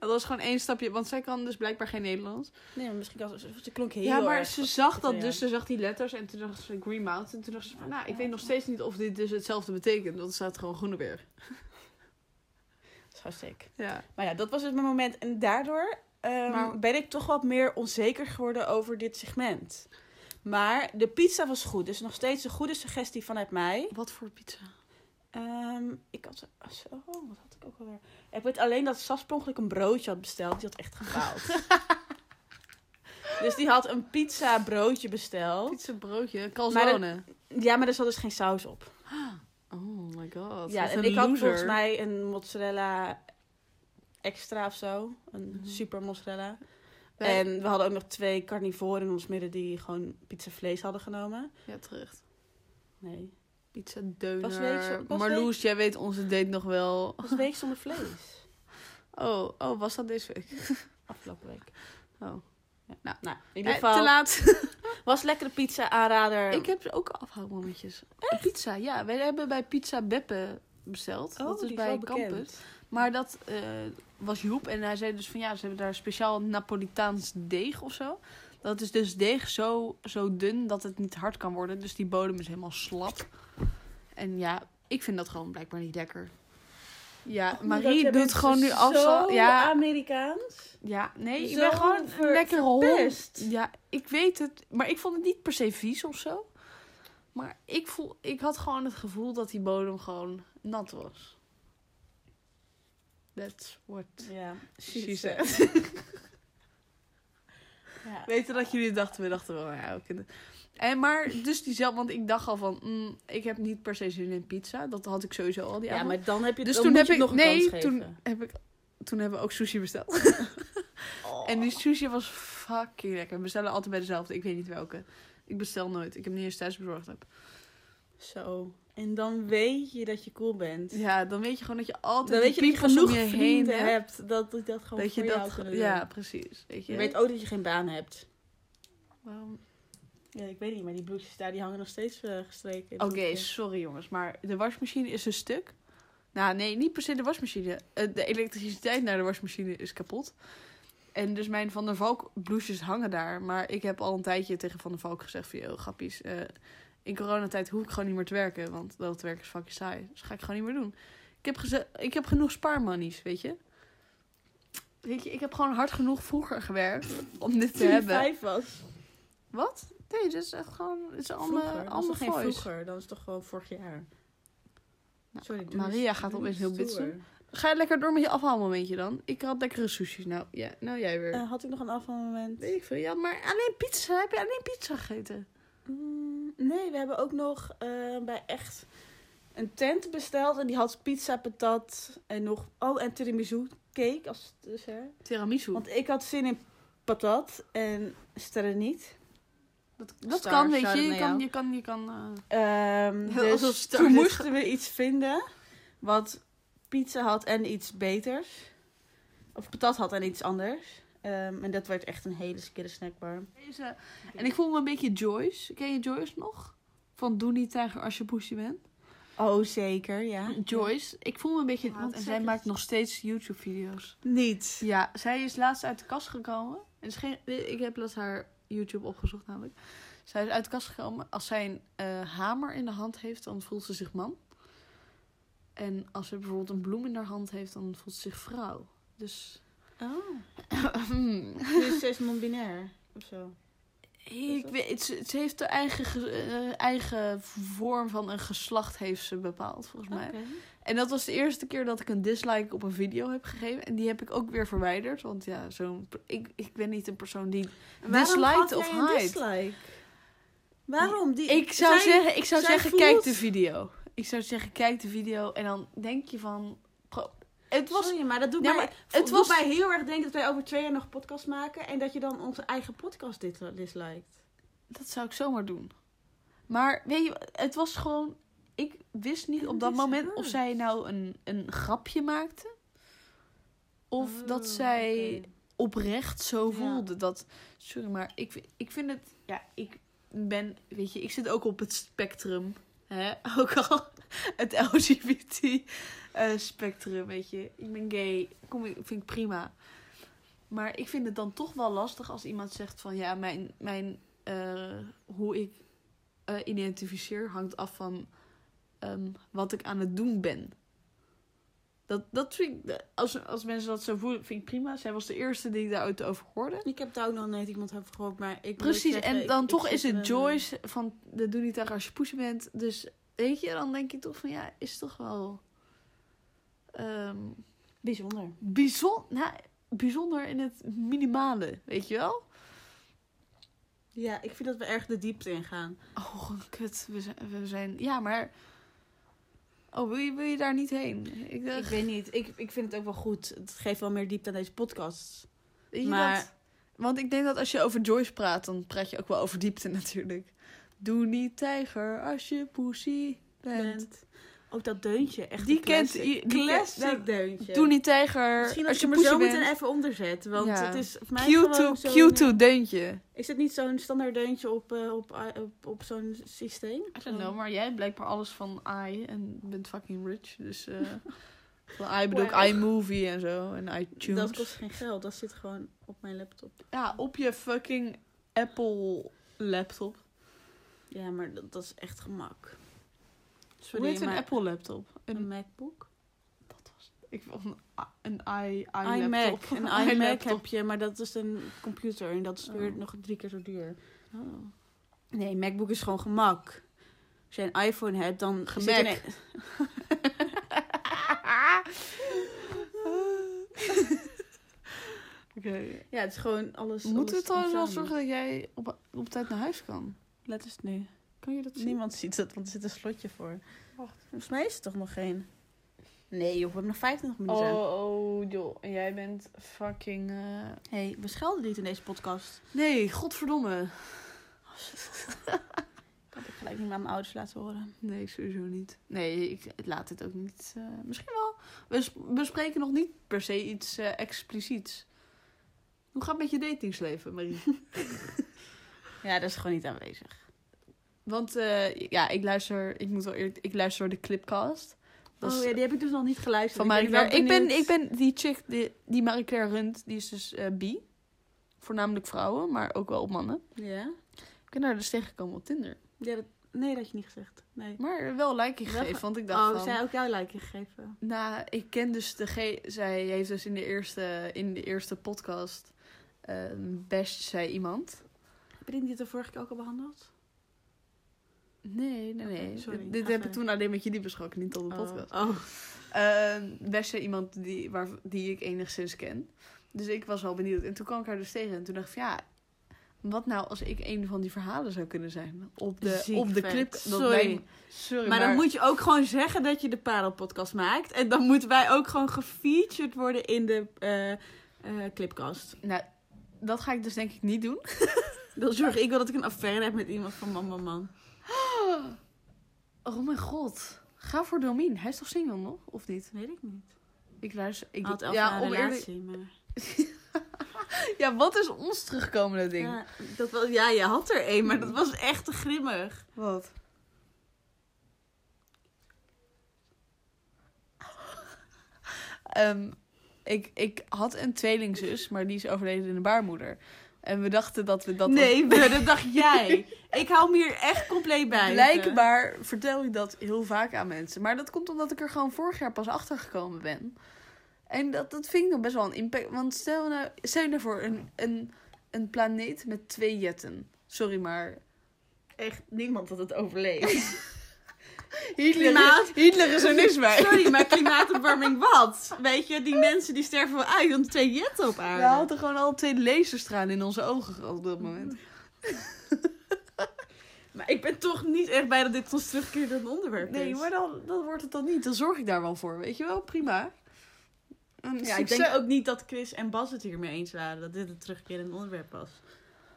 B: dat was gewoon één stapje, want zij kan dus blijkbaar geen Nederlands.
D: Nee, maar misschien kan ze, ze klonk heel
B: ja, maar
D: erg
B: ze zag dat
D: Italiaans.
B: dus, ze zag die letters en toen dacht ze Green Mountain. En toen dacht ze van, nou, ik
D: Ja,
B: weet nog
D: ja.
B: steeds niet of dit dus hetzelfde betekent, want er staat gewoon Groeneberg.
D: Dat is hartstikke sick.
B: Ja.
D: Maar ja, dat was dus mijn moment. En daardoor ehm,
B: Maar-
D: ben ik toch wat meer onzeker geworden over dit segment. Maar de pizza was goed. Dus nog steeds een goede suggestie vanuit mij.
B: Wat voor pizza?
D: Ehm, ik had... zo, Oh, wat had ik ook alweer? Ik weet alleen dat Sas per ongeluk een broodje had besteld. Die had echt gefaald. dus die had een pizza broodje besteld.
B: Pizza, broodje, calzone.
D: Ja, maar er zat dus geen saus op.
B: Oh my god.
D: ja,
B: wat
D: en
B: een
D: ik had
B: loser.
D: volgens mij een mozzarella extra of zo. Een
B: Mhm.
D: super mozzarella.
B: Wij-
D: En we hadden ook nog twee carnivoren in ons midden die gewoon pizza vlees hadden genomen.
B: Ja, terecht.
D: Nee.
B: Pizza,
D: Was week
B: deuner.
D: zo- was
B: Marloes, jij weet onze date nog wel.
D: Dat was week zonder vlees.
B: Oh, oh, was dat deze week?
D: Afgelopen week.
B: Oh.
D: Nou, in ieder
B: Eh,
D: geval
B: te laat.
D: was lekkere pizza aanrader.
B: Ik heb ook afhoudmomentjes. Pizza, ja. Wij hebben bij Pizza Beppe besteld.
C: Oh,
B: dat is
D: Oh, die
B: bij
D: wel bekend.
B: Campus. Maar dat eh, was Joep. En hij zei dus van ja, ze hebben daar speciaal Napolitaans deeg of zo. Dat is dus deeg zo, zo dun dat het niet hard kan worden. Dus die bodem is helemaal slap. En ja, ik vind dat gewoon blijkbaar niet lekker. Ja,
D: Oh, dat
B: Marie
D: jij
B: doet
D: bent
B: gewoon nu
D: zo
B: afstand. Ja,
D: Amerikaans.
B: ja, nee, ik
D: Zo
B: ben gewoon
D: ver-
B: een lekkere hond.
D: verpest.
B: Ja, ik weet het. Maar ik vond het niet per se vies of zo. Maar ik, voel, ik had gewoon het gevoel dat die bodem gewoon nat was. That's what
D: Ja.
B: she said.
D: Ja.
B: Weten dat jullie dachten, we dachten wel, ja, we kunnen... En maar dus diezelfde, want ik dacht al van, mm, ik heb niet per se zin in pizza. Dat had ik sowieso al die
D: Ja,
B: avond.
D: maar dan heb je
B: dus
D: dan
B: toen heb
D: moet je
B: ik,
D: het nog een
B: nee,
D: kans
B: toen
D: geven.
B: heb ik, toen hebben we ook sushi besteld.
D: Oh.
B: En die sushi was fucking lekker. We bestellen altijd bij dezelfde. Ik weet niet welke. Ik bestel nooit. Ik heb niet eens thuis bezorgd. Heb.
D: Zo. En dan weet je dat je cool bent.
B: Ja, dan weet je gewoon dat je altijd
D: Dan
B: die
D: weet je dat je
B: piepers om
D: genoeg
B: je heen
D: vrienden
B: hebt.
D: hebt dat dat dat gewoon
B: Dat je
D: voor jou
B: dat...
D: kunnen doen.
B: Ja, precies. Weet je.
D: Je weet ook dat je geen baan hebt.
B: Waarom-
D: Ja, ik weet niet, maar die broekjes daar die hangen nog steeds eh, gestreken.
B: Oké, sorry jongens. Maar de wasmachine is een stuk. Nou, nee, niet per se de wasmachine. Eh, De elektriciteit naar de wasmachine is kapot. En dus mijn Van der Valk bloesjes hangen daar. Maar ik heb al een tijdje tegen Van der Valk gezegd van... Yo, grappies. eh, in coronatijd hoef ik gewoon niet meer te werken. Want dat werk is fucking saai. Dus ga ik gewoon niet meer doen. Ik heb, geze- ik heb genoeg spaarmonies, weet je. Weet je, ik heb gewoon hard genoeg vroeger gewerkt om dit te
D: Toen je
B: hebben.
D: vijf was.
B: Wat? Nee, dit is echt gewoon... Het is
D: Vroeger.
B: allemaal,
D: dat is
B: allemaal
D: toch geen
B: voice.
D: vroeger. Dan is het toch gewoon vorig jaar.
B: Nou,
D: Sorry, doe
B: Maria
D: eens-
B: gaat
D: doe
B: opeens
D: eens
B: heel bits
D: stoer.
B: Ga je lekker door met je afhaalmomentje dan? Ik had lekkere sushi. Nou, ja, nou jij weer.
D: Eh, had ik nog een afvalmoment?
B: Weet ik veel. Ja, maar alleen pizza. Heb je alleen pizza gegeten?
D: Mm, nee, we hebben ook nog eh, bij echt een tent besteld. En die had pizza, patat en nog... Oh, en tiramisu cake als dessert.
B: Tiramisu.
D: Want ik had zin in patat en sterren niet.
B: dat dat
D: Star,
B: kan, weet
D: shout-out
B: je. Je
D: naar
B: kan,
D: jou.
B: je kan, je kan... eh,
D: Ehm,
B: Heel alsof
D: dus
B: Star
D: toen
B: dit
D: moesten we iets vinden wat pizza had en iets beters. Of patat had en iets anders. Ehm, en dat werd echt een hele skille snackbar.
B: Deze. En ik voel me een beetje Joyce. Ken je Joyce nog? Van Doe niet tijger als je poesje bent.
D: Oh, zeker, ja.
B: Joyce. Ik voel me een beetje...
D: Ja, wat
B: en
D: zeg
B: zij
D: je?
B: maakt nog steeds YouTube-video's.
D: Niet.
B: Ja, zij is laatst uit de kast gekomen. En is geen, ik heb laatst haar YouTube opgezocht namelijk. Zij is uit de kast gekomen. Als zij een eh, hamer in de hand heeft, dan voelt ze zich man. En als ze bijvoorbeeld een bloem in haar hand heeft, dan voelt ze zich vrouw. Dus
D: Oh. Dus ze is non-binair of zo.
B: ik weet, ze, ze heeft de eigen, ge- eh, eigen vorm van een geslacht heeft ze bepaald, volgens mij. En dat was de eerste keer dat ik een dislike op een video heb gegeven. En die heb ik ook weer verwijderd. Want ja, zo'n. Ik, ik ben niet een persoon die
D: En waarom
B: Disliked
D: gaf jij
B: of
D: een
B: hyped?
D: dislike? Waarom? Die,
B: Ik zou
D: zij-
B: zeggen, ik zou
D: zij
B: zeggen
D: voelt-
B: kijk de video. Ik zou zeggen, kijk de video. En dan denk je van... pro- Het was...
D: Sorry, maar dat doet
B: Ja,
D: mij...
B: maar het
D: Het
B: was-
D: was mij heel erg denken dat wij over twee jaar nog een podcast maken... en dat je dan onze eigen podcast dit disliked.
B: Dat zou ik zomaar doen. Maar weet je, het was gewoon... Ik wist niet
D: En
B: op
D: het
B: dat
D: is
B: moment
D: haar.
B: of zij nou een, een grapje maakte. Of
D: Oh,
B: dat zij
D: oké.
B: oprecht zo
D: Ja.
B: voelde. Dat, sorry, maar ik, vind- ik vind het... Ja, ik ben... Weet je, ik zit ook op het spectrum. Hè? Ook al het LGBT-spectrum, Eh, weet je. Ik ben gay, kom, ik- vind ik prima. Maar ik vind het dan toch wel lastig als iemand zegt van... Ja, mijn, mijn, eh, hoe ik eh, identificeer hangt af van ehm, wat ik aan het doen ben. Dat, dat vind ik, als, als mensen dat zo voelen, vind ik prima. Zij was de eerste die ik daaruit over hoorde.
D: Ik heb daar ook nog nooit iemand over gehoord, maar ik moet
B: Precies,
D: zeggen,
B: en
D: ik- eh,
B: dan
D: ik
B: toch
D: zit
B: is
D: er een-
B: het Joyce van de doe niet tegen als je poesje bent. Dus weet je, dan denk je toch van ja, is toch wel ehm,
D: Bijzonder.
B: bijzon nou, bijzonder in het minimale, weet je wel?
D: Ja, ik vind dat we erg de diepte ingaan.
B: Oh, kut, we zijn, we zijn ja, maar oh, wil je, wil je daar niet heen? Ik
D: Ik
B: dacht,
D: weet niet, ik, ik vind het ook wel goed. Het geeft wel meer diepte aan deze podcast.
B: weet je
D: maar-
B: dat? Want ik denk dat als je over Joyce praat, dan praat je ook wel over diepte natuurlijk. Doe niet tijger als je poesie bent.
D: Bent. Ook dat deuntje, echt
B: Die
D: een classic.
B: kent i- die nou,
D: classic
B: kent-
D: deuntje.
B: Doe niet tijger
D: Misschien
B: als
D: als
B: je
D: ik hem er
B: poesje
D: zo
B: bent.
D: meteen even onderzet. Want
B: Ja.
D: het is voor mij
B: Q2,
D: gewoon zo'n-
B: Q2 deuntje.
D: Is het niet zo'n standaard deuntje op, eh, op, i- op, op zo'n systeem?
B: I don't know, maar jij hebt blijkbaar alles van I en bent fucking rich. Dus eh van I bedoel ik
D: Wow.
B: iMovie en zo en iTunes.
D: Dat kost geen geld, dat zit gewoon op mijn laptop.
B: Ja, op je fucking Apple laptop.
D: Ja, maar dat, dat is echt gemak.
B: Hoe heet een
D: maar-
B: Apple laptop?
D: Een
B: Een,
D: MacBook?
B: wat was het? Ik vond een, i- een i, i
D: iMac.
B: laptop.
D: Een iMac
B: laptop.
D: heb je, maar dat is een computer en dat is weer
B: Oh.
D: nog drie keer zo duur.
B: Oh.
D: Nee, MacBook is gewoon gemak. Als je een iPhone hebt, dan... zit er
B: Gemak.
D: ne-
B: Oké.
D: Ja, het is gewoon alles...
B: Moeten we
D: alles
B: trouwens wel
D: samen.
B: zorgen dat jij op, op tijd naar huis kan?
D: Let eens nu.
B: Kan je dat zien?
D: Niemand ziet het, want er zit een slotje voor.
B: Wacht.
D: Volgens mij is er toch nog geen. Nee joh, we hebben nog 25 minuten.
B: Oh, oh, joh. En jij bent fucking... eh,
D: hey, we schelden niet in deze podcast.
B: Nee, godverdomme.
D: Ik had het gelijk niet meer aan mijn ouders laten horen.
B: Nee, sowieso niet. Nee, ik ik laat het ook niet. eh, misschien wel. We sp- bespreken nog niet per se iets eh, expliciets. Hoe gaat het met je datingsleven, Marie?
D: Ja, dat is gewoon niet aanwezig.
B: Want eh, ja, ik luister... Ik moet wel eerlijk... Ik luister de Clipcast. Dat is
D: oh ja, die heb ik dus nog niet geluisterd.
B: van
D: Ik ben
B: Marie Claire. Ik
D: wel
B: ben,
D: benieuwd.
B: ik ben die chick, die, die Marie Claire runt, die is dus eh bi. Voornamelijk vrouwen, maar ook wel op mannen.
D: Ja?
B: Ik ben haar dus tegengekomen op Tinder.
D: ja dat... Nee, dat had je niet gezegd. Nee.
B: Maar wel een like gegeven,
D: Wel-
B: want ik dacht
D: Oh,
B: van...
D: zij ook jouw like gegeven.
B: Nou, ik ken dus de ge- Zij heeft dus in de eerste, in de eerste podcast. eh best zij iemand.
D: Heb je dit niet de vorige keer ook al behandeld?
B: Nee, nee, nee.
D: Oké, sorry.
B: Dit
D: Ga
B: heb ik
D: verder.
B: toen alleen met jullie besproken, niet tot de podcast.
D: Oh. oh.
B: Eh, best zij iemand die, waar, die ik enigszins ken. Dus ik was wel benieuwd. En toen kwam ik haar dus tegen. En toen dacht ik van ja. Wat nou als ik een van die verhalen zou kunnen zijn? Op de,
D: Ziek
B: op de
D: vet.
B: clip.
D: Sorry.
B: wij- sorry.
D: Maar dan moet je ook gewoon zeggen dat je de Parelpodcast maakt. En dan moeten wij ook gewoon gefeatured worden in de eh, eh, clipcast.
B: Nou, dat ga ik dus denk ik niet doen.
D: Dan zorg ik wel dat ik een affaire heb met iemand van man, man, man.
B: Oh mijn god. Ga voor Domien. Hij is toch single nog? Of niet?
D: Weet ik niet.
B: Ik luister. Ik,
D: Ik had elf
B: ja,
D: jaar een
B: om eerlijk-
D: relatie, maar...
B: ja, wat is ons terugkomende ding?
D: Ja, dat was, ja, je had er één, maar dat was echt te grimmig.
B: Wat? Ehm, ik, ik had een tweelingzus, maar die is overleden in de baarmoeder. En we dachten dat we dat.
D: nee, we- dat dacht jij. Ik hou me hier echt compleet bij.
B: Blijkbaar vertel ik dat heel vaak aan mensen. Maar dat komt omdat ik er gewoon vorig jaar pas achter gekomen ben. En dat, dat vind ik nog best wel een impact. Want stel, nou, stel je daarvoor een, een, een planeet met twee jetten. Sorry, maar
D: Echt niemand dat het overleeft.
B: Hitler,
D: Klimaat.
B: Hitler is er niks bij.
D: Sorry, maar klimaatopwarming wat? Weet je, die mensen die sterven wel uit, want twee jetten op
B: We
D: aarde.
B: hadden gewoon al twee laserstralen in onze ogen op dat
D: Mm,
B: moment.
D: Maar ik ben toch niet echt bij dat dit ons terugkeert een onderwerp
B: Nee,
D: is.
B: maar dan, dan wordt het dan niet. Dan zorg ik daar wel voor, weet je wel? Prima. En
D: Ja, ik
B: succes-
D: denk ook niet dat Chris en Bas het hiermee eens waren. Dat dit een terugkerend onderwerp was.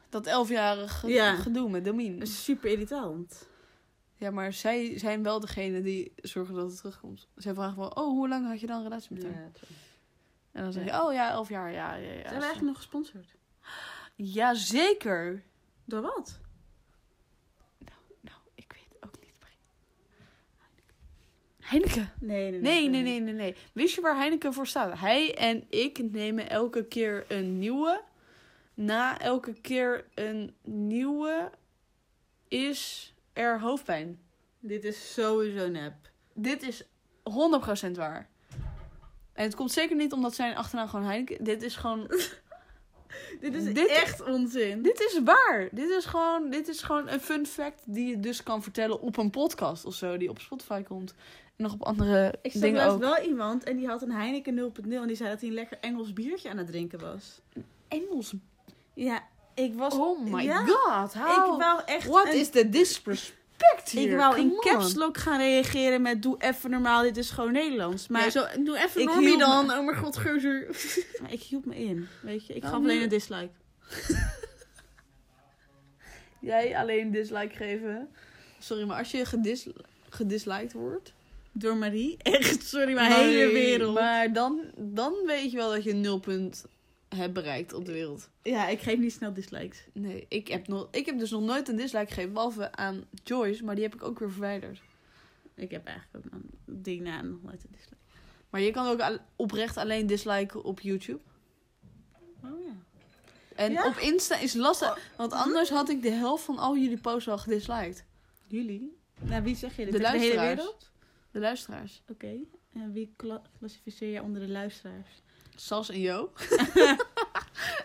B: dat elfjarige
D: Ja.
B: gedoe met Domien.
D: Super irritant.
B: Ja, maar zij zijn wel degene die zorgen dat het terugkomt. Zij vragen wel, oh, hoe lang had je dan een relatie met haar? En dan zeg je, oh ja, elf jaar, ja, ja, ja.
D: Zijn we eigenlijk nog gesponsord?
B: Jazeker.
D: Door wat?
B: Nou, ik weet het ook niet. Marie. Heineken.
E: Nee, nee,
B: Nee, nee, nee, nee, nee. Wist je waar Heineken voor staat? Hij en ik nemen elke keer een nieuwe. Na elke keer een nieuwe is er hoofdpijn.
D: Dit is sowieso nep.
B: Dit is 100% waar. En het komt zeker niet omdat zijn achternaam gewoon Heineken. Dit is gewoon.
D: Dit is
B: Dit-
D: echt onzin.
B: dit is waar. Dit is, gewoon, dit is gewoon een fun fact die je dus kan vertellen op een podcast of zo. Die op Spotify komt. En nog op andere
D: Ik zag
B: dingen
D: laatst
B: ook.
D: wel iemand en die had een Heineken 0.0 en die zei dat hij een lekker Engels biertje aan het drinken was.
B: Engels.
D: Ja, ik was...
B: Oh my
D: Ja.
B: god. How?
D: Ik wou echt
B: What
D: een-
B: is the disrespect here?
D: Ik wou
B: Come
D: in
B: on.
D: caps lock gaan reageren met doe even normaal, dit is gewoon Nederlands. Maar
B: Maar zo, doe even
D: Ik
B: Normie
D: hield me-
B: dan. Oh mijn god, geuzer.
D: Maar ik hield me in, weet je. Ik
B: Nou,
D: gaf
B: nu-
D: alleen een dislike.
B: Jij alleen dislike geven. Sorry, maar als je gedis, gedisliked wordt...
D: Door Marie. Echt, sorry, mijn
B: Nee,
D: hele wereld.
B: Maar dan, dan weet je wel dat je een nulpunt hebt bereikt op de wereld.
D: Ja, ik geef niet snel dislikes.
B: Nee, ik heb, nog, ik heb dus nog nooit een dislike gegeven. Behalve aan Joyce, maar die heb ik ook weer verwijderd.
D: Ik heb eigenlijk ook nog die na nog nooit een dislike.
B: Maar je kan ook al- oprecht alleen disliken op YouTube.
D: Oh ja.
B: En
D: Ja? Oh. Mhm.
B: op Insta is lastig. Want anders had ik de helft van al jullie posts al gedisliked.
D: Jullie? Nou, wie zeg je dit?
B: De
D: Is hele
B: luisteraars.
D: wereld?
B: De luisteraars.
D: Oké. En wie kla- klassificeer je onder de luisteraars?
B: Sas en Jo.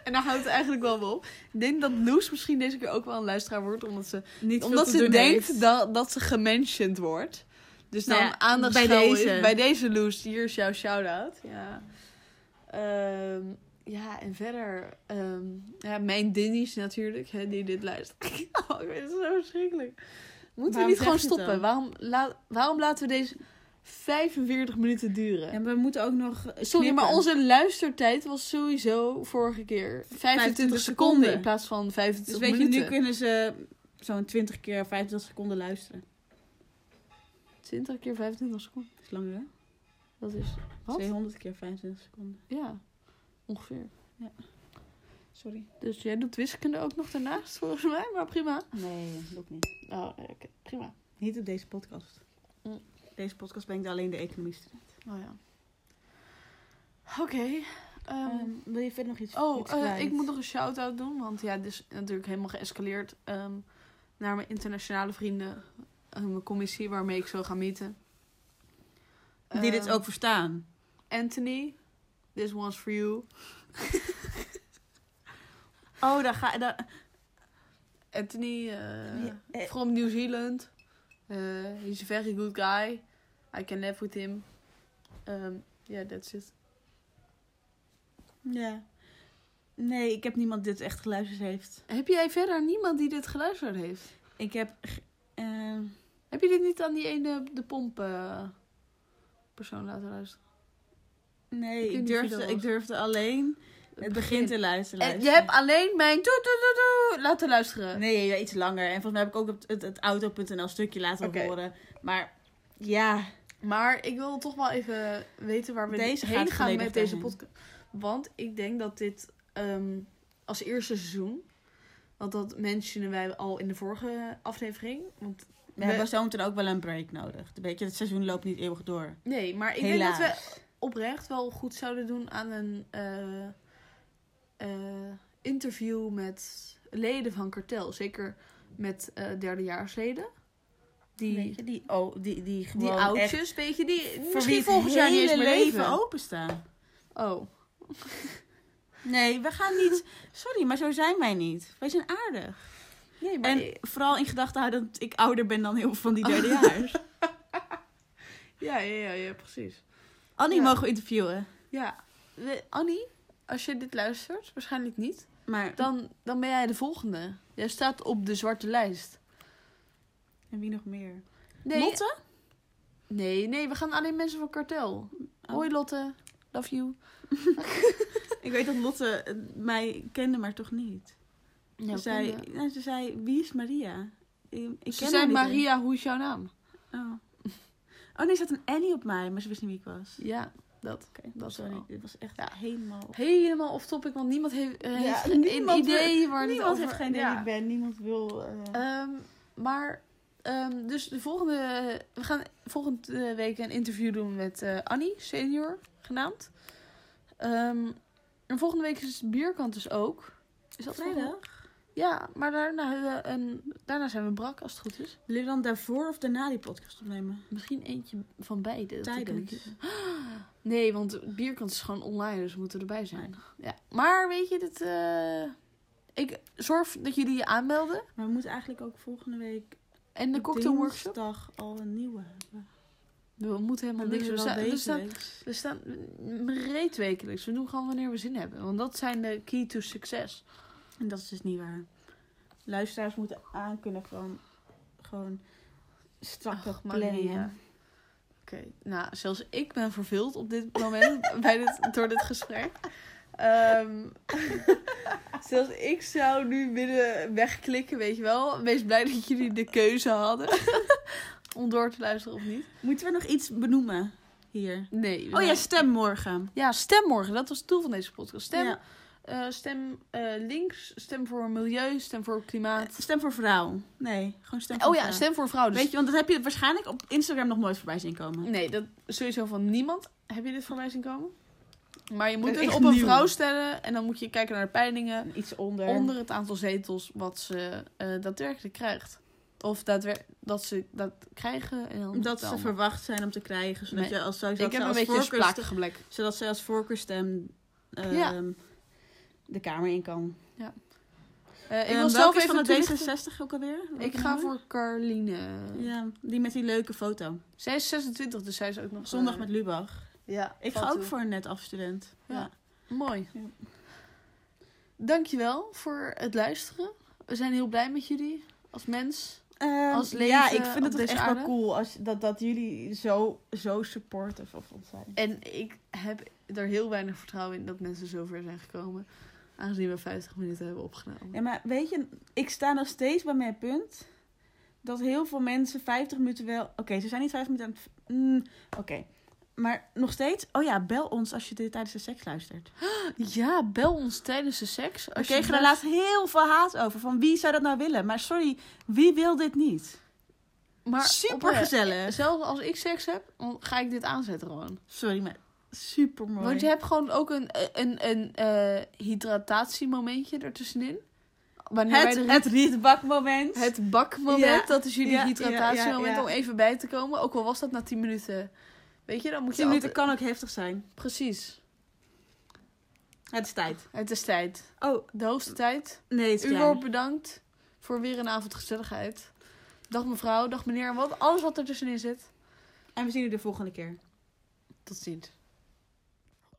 B: en daar houdt het eigenlijk wel mee op. Ik denk dat Loes misschien deze keer ook wel een luisteraar wordt. Omdat ze,
D: Niet
B: omdat ze denkt dat, dat ze gementioned wordt. Dus dan
D: Nou
B: nou
D: ja,
B: aandacht
D: bij
B: bij deze.
D: deze.
B: bij deze Loes. Hier is jouw shout-out. Ja. Ehm, ja, en verder. ehm, ja, mijn dinnies natuurlijk, hè, die dit luisteren. oh, ik vind het zo verschrikkelijk. Moeten
D: Waarom
B: we niet gewoon
D: zeg je het
B: stoppen?
D: dan?
B: Waarom, la- waarom laten we deze 45 minuten duren?
D: En we moeten ook nog. eh,
B: Sorry, maar
D: knippen.
B: onze luistertijd was sowieso vorige keer 25, seconden,
D: 25 seconden.
B: in plaats van 25
D: Dus weet je,
B: minuten.
D: nu kunnen ze zo'n 20 keer 25 seconden luisteren.
B: 20 keer 25 seconden.
D: Dat is langer, hè?
B: Dat is Wat?
D: 200 keer 25 seconden.
B: ja, ongeveer.
D: Sorry.
B: Dus jij doet wiskunde ook nog daarnaast volgens mij, maar prima.
D: Nee, dat ook niet.
B: Oh, nee, oké, prima.
D: Niet op deze podcast.
B: Mm.
D: Deze podcast brengt alleen de economie terecht.
B: Oh ja. Oké. ehm,
D: Ehm, wil je verder nog iets
B: Oh,
D: iets
B: eh,
D: kwijt?
B: ik moet nog een shout-out doen. Want ja, dit is natuurlijk helemaal geëscaleerd ehm, naar mijn internationale vrienden. eh, mijn commissie waarmee ik zou gaan meeten.
D: Die dit
B: Ehm,
D: ook verstaan.
B: Anthony, this one's for you.
D: Oh, daar ga daar...
B: Anthony, eh,
D: Ja, eh.
B: from New Zealand. Eh, he's a very good guy. I can live with him. Um, yeah, that's it.
D: Ja. Nee, ik heb niemand die dit echt geluisterd heeft.
B: Heb jij verder niemand die dit geluisterd heeft?
D: Ik heb... ge- ehm,
B: Heb je dit niet aan die ene de pomp eh, persoon laten luisteren?
D: nee,
B: Ik weet
D: ik
B: niet wie dat
D: durfde,
B: was.
D: ik durfde alleen het begin te luisteren.
B: En Eh, je
D: luisteren.
B: hebt alleen mijn doe, doe, doe, doe laten luisteren.
D: Nee, ja, iets langer. En volgens mij heb ik ook het, het, het auto.nl stukje laten
B: Oké.
D: horen. Maar ja,
B: Maar ik wil toch wel even weten waar we
D: Deze
B: heen
D: gaat
B: gaan
D: volledig
B: met deze
D: daarheen.
B: podcast. Want ik denk dat dit ehm, als eerste seizoen. Want dat mentionen wij al in de vorige aflevering. Want
D: we hebben zometeen ook wel een break nodig. Weet je, het seizoen loopt niet eeuwig door.
B: Nee, maar ik
D: Helaas.
B: denk dat we oprecht wel goed zouden doen aan een eh, eh, interview met leden van kartel. Zeker met eh, derdejaarsleden. Die,
D: Weet je, die, oh, die, die
B: die
D: gewoon
B: oudjes,
D: echt-
B: weet je, die
D: voor wie
B: misschien
D: het
B: volgend jaar niet eens
D: hele
B: meer leven.
D: leven openstaan.
B: Oh.
D: Nee, we gaan niet... Sorry, maar zo zijn wij niet. Wij zijn aardig.
B: Nee, Oh. maar
D: En vooral in gedachten houden dat ik ouder ben dan heel veel van die derdejaars.
B: Ja, ja, ja, ja, precies.
D: Annie
B: Ja.
D: mogen we interviewen.
B: Ja. We- Annie, als je dit luistert, waarschijnlijk niet,
D: Maar
B: dan, dan ben jij de volgende. Jij staat op de zwarte lijst.
D: En wie nog meer?
B: Nee,
D: Lotte?
B: nee, nee, we gaan alleen mensen van kartel.
D: Oh.
B: Hoi Lotte, love you.
D: Ik weet dat Lotte eh, mij kende, maar toch niet.
B: Ja,
D: ze, zei,
B: ik
D: nou, ze zei, wie is Maria? Ik, ik
B: Ze
D: ken
B: zei
D: haar niet
B: Maria, hoe is jouw naam?
D: eens. Oh. oh nee, ze had een Annie op mij, maar ze wist niet wie ik was.
B: Ja, dat.
D: Oké,
B: dat
D: sorry.
B: wel.
D: Dit was echt
B: Oh. Ja.
D: helemaal...
B: Helemaal off topic, want niemand heeft, eh,
D: Ja,
B: heeft geen
D: niemand
B: idee waar dit
D: Niemand
B: over...
D: heeft geen idee
B: Ja.
D: wie ik ben. Niemand wil... eh,
B: Ehm, maar eh, ehm, dus de volgende, we gaan volgende week een interview doen met eh, Annie, senior genaamd. Ehm, en volgende week is de bierkant dus ook. Is dat volgende- Ja, maar daarna, hebben we een, daarna zijn we brak als het goed is.
D: Willen we dan daarvoor of daarna die podcast opnemen?
B: Misschien eentje van beide. dat kan ik niet-
D: Tijdens.
B: Nee, want bierkant is gewoon online, dus we moeten erbij zijn. Ja. Maar weet je, dat, eh, ik zorg dat jullie je aanmelden.
D: Maar we moeten eigenlijk ook volgende week...
B: En de cocktailworkshop.
D: dinsdag al een nieuwe hebben.
B: We moeten helemaal niks.
D: willen
B: We,
D: wel
B: sta- dus we
D: deze
B: staan,
D: week.
B: we staan reed wekelijks. We doen gewoon wanneer we zin hebben. Want dat zijn de key to success.
D: En dat is dus niet waar. Luisteraars moeten aankunnen van gewoon strakke
B: Ach, Maria.
D: plannen.
B: Oké, nou, zelfs ik ben verveeld op dit moment bij dit, door dit gesprek. Ehm, zelfs ik zou nu binnen wegklikken, weet je wel. Wees blij dat jullie de keuze hadden om door te luisteren of niet.
D: Moeten we nog iets benoemen hier?
B: Nee. we
D: Oh ja,
B: zijn-
D: stem morgen.
B: Ja, stem morgen. Dat was het doel van deze podcast. Stem,
D: Ja.
B: eh, stem eh, links, stem voor milieu, stem voor klimaat.
D: Stem voor vrouw. Nee, gewoon stem voor
B: Oh ja,
D: vrouw.
B: stem voor vrouwen. Dus-
D: Weet je, want dat heb je waarschijnlijk op Instagram nog nooit voorbij zien komen.
B: Nee, dat sowieso van niemand. Heb je dit voorbij zien komen? Maar je moet
D: Dat is
B: dus
D: echt
B: op een
D: nieuw.
B: vrouw stellen en dan moet je kijken naar de peilingen
D: En Iets onder.
B: onder het aantal zetels wat ze eh, daadwerkelijk krijgt. Of daadwer dat ze dat krijgen. En dan
D: Dat ze
B: dan.
D: verwacht zijn om te krijgen. Zodat
B: Nee.
D: je als, zodat
B: Ik
D: ze
B: heb een
D: als
B: beetje een
D: voorkeurstem-
B: splakige blik.
D: Zodat zij als voorkeurstem ehm,
B: Ja.
D: de kamer in kan.
B: Eh, ik
D: Ehm,
B: wil
D: welke
B: zelf
D: is
B: even toelichten.
D: van de D66 ook alweer?
B: Ik
D: Welke
B: ga
D: nummer?
B: voor Carline.
D: Ja, die met die leuke foto.
B: Zij is 26, dus zij is ook nog...
D: Zondag
B: eh,
D: met Lubach.
B: Ja,
D: Ik
B: valt
D: ga ook
B: toe.
D: voor een net afstudent.
B: Ja. Mooi.
D: Ja.
B: Dankjewel voor het luisteren. We zijn heel blij met jullie als mens.
D: Ehm,
B: Als
D: ja,
B: leven
D: ik vind
B: op
D: het ook
B: deze
D: echt
B: aarde.
D: wel cool als, dat, dat jullie zo, zo supportive of ons zijn.
B: En ik heb er heel weinig vertrouwen in dat mensen zover zijn gekomen. Aangezien we 50 minuten hebben opgenomen.
D: Ja, maar weet je, ik sta nog steeds bij mijn punt dat heel veel mensen 50 minuten wel. Oké, ze zijn niet 50 minuten aan het. Mm, Oké. Maar nog steeds, oh ja, bel ons als je dit tijdens de seks luistert.
B: Ja, bel ons tijdens de seks.
D: We
B: Als
D: kregen
B: je
D: er laatst heel veel haat over. Van wie zou dat nou willen? Maar sorry, wie wil dit niet?
B: Maar
D: Super
B: oprecht,
D: gezellig.
B: Zelfs als ik seks heb, dan ga ik dit aanzetten gewoon.
D: Sorry, maar super mooi.
B: Want je hebt gewoon ook een, een, een eh hydratatiemomentje ertussenin. Wanneer wij
D: het,
B: de-
D: het rietbakmoment.
B: Het bakmoment,
D: Ja,
B: dat is jullie
D: ja,
B: hydratatiemoment
D: ja, ja, ja.
B: om even bij te komen. Ook al was dat na 10 minuten. Weet je, dan moet je
D: 10 minuten
B: altijd...
D: kan ook heftig zijn.
B: Precies.
D: Het is tijd.
B: Het is tijd.
D: Oh,
B: De hoogste tijd.
D: nee, het is
B: U
D: klaar.
B: wordt bedankt voor weer een avond gezelligheid. Dag mevrouw, dag meneer en wat alles wat er tussenin zit.
D: En we zien jullie de volgende keer.
B: Tot ziens.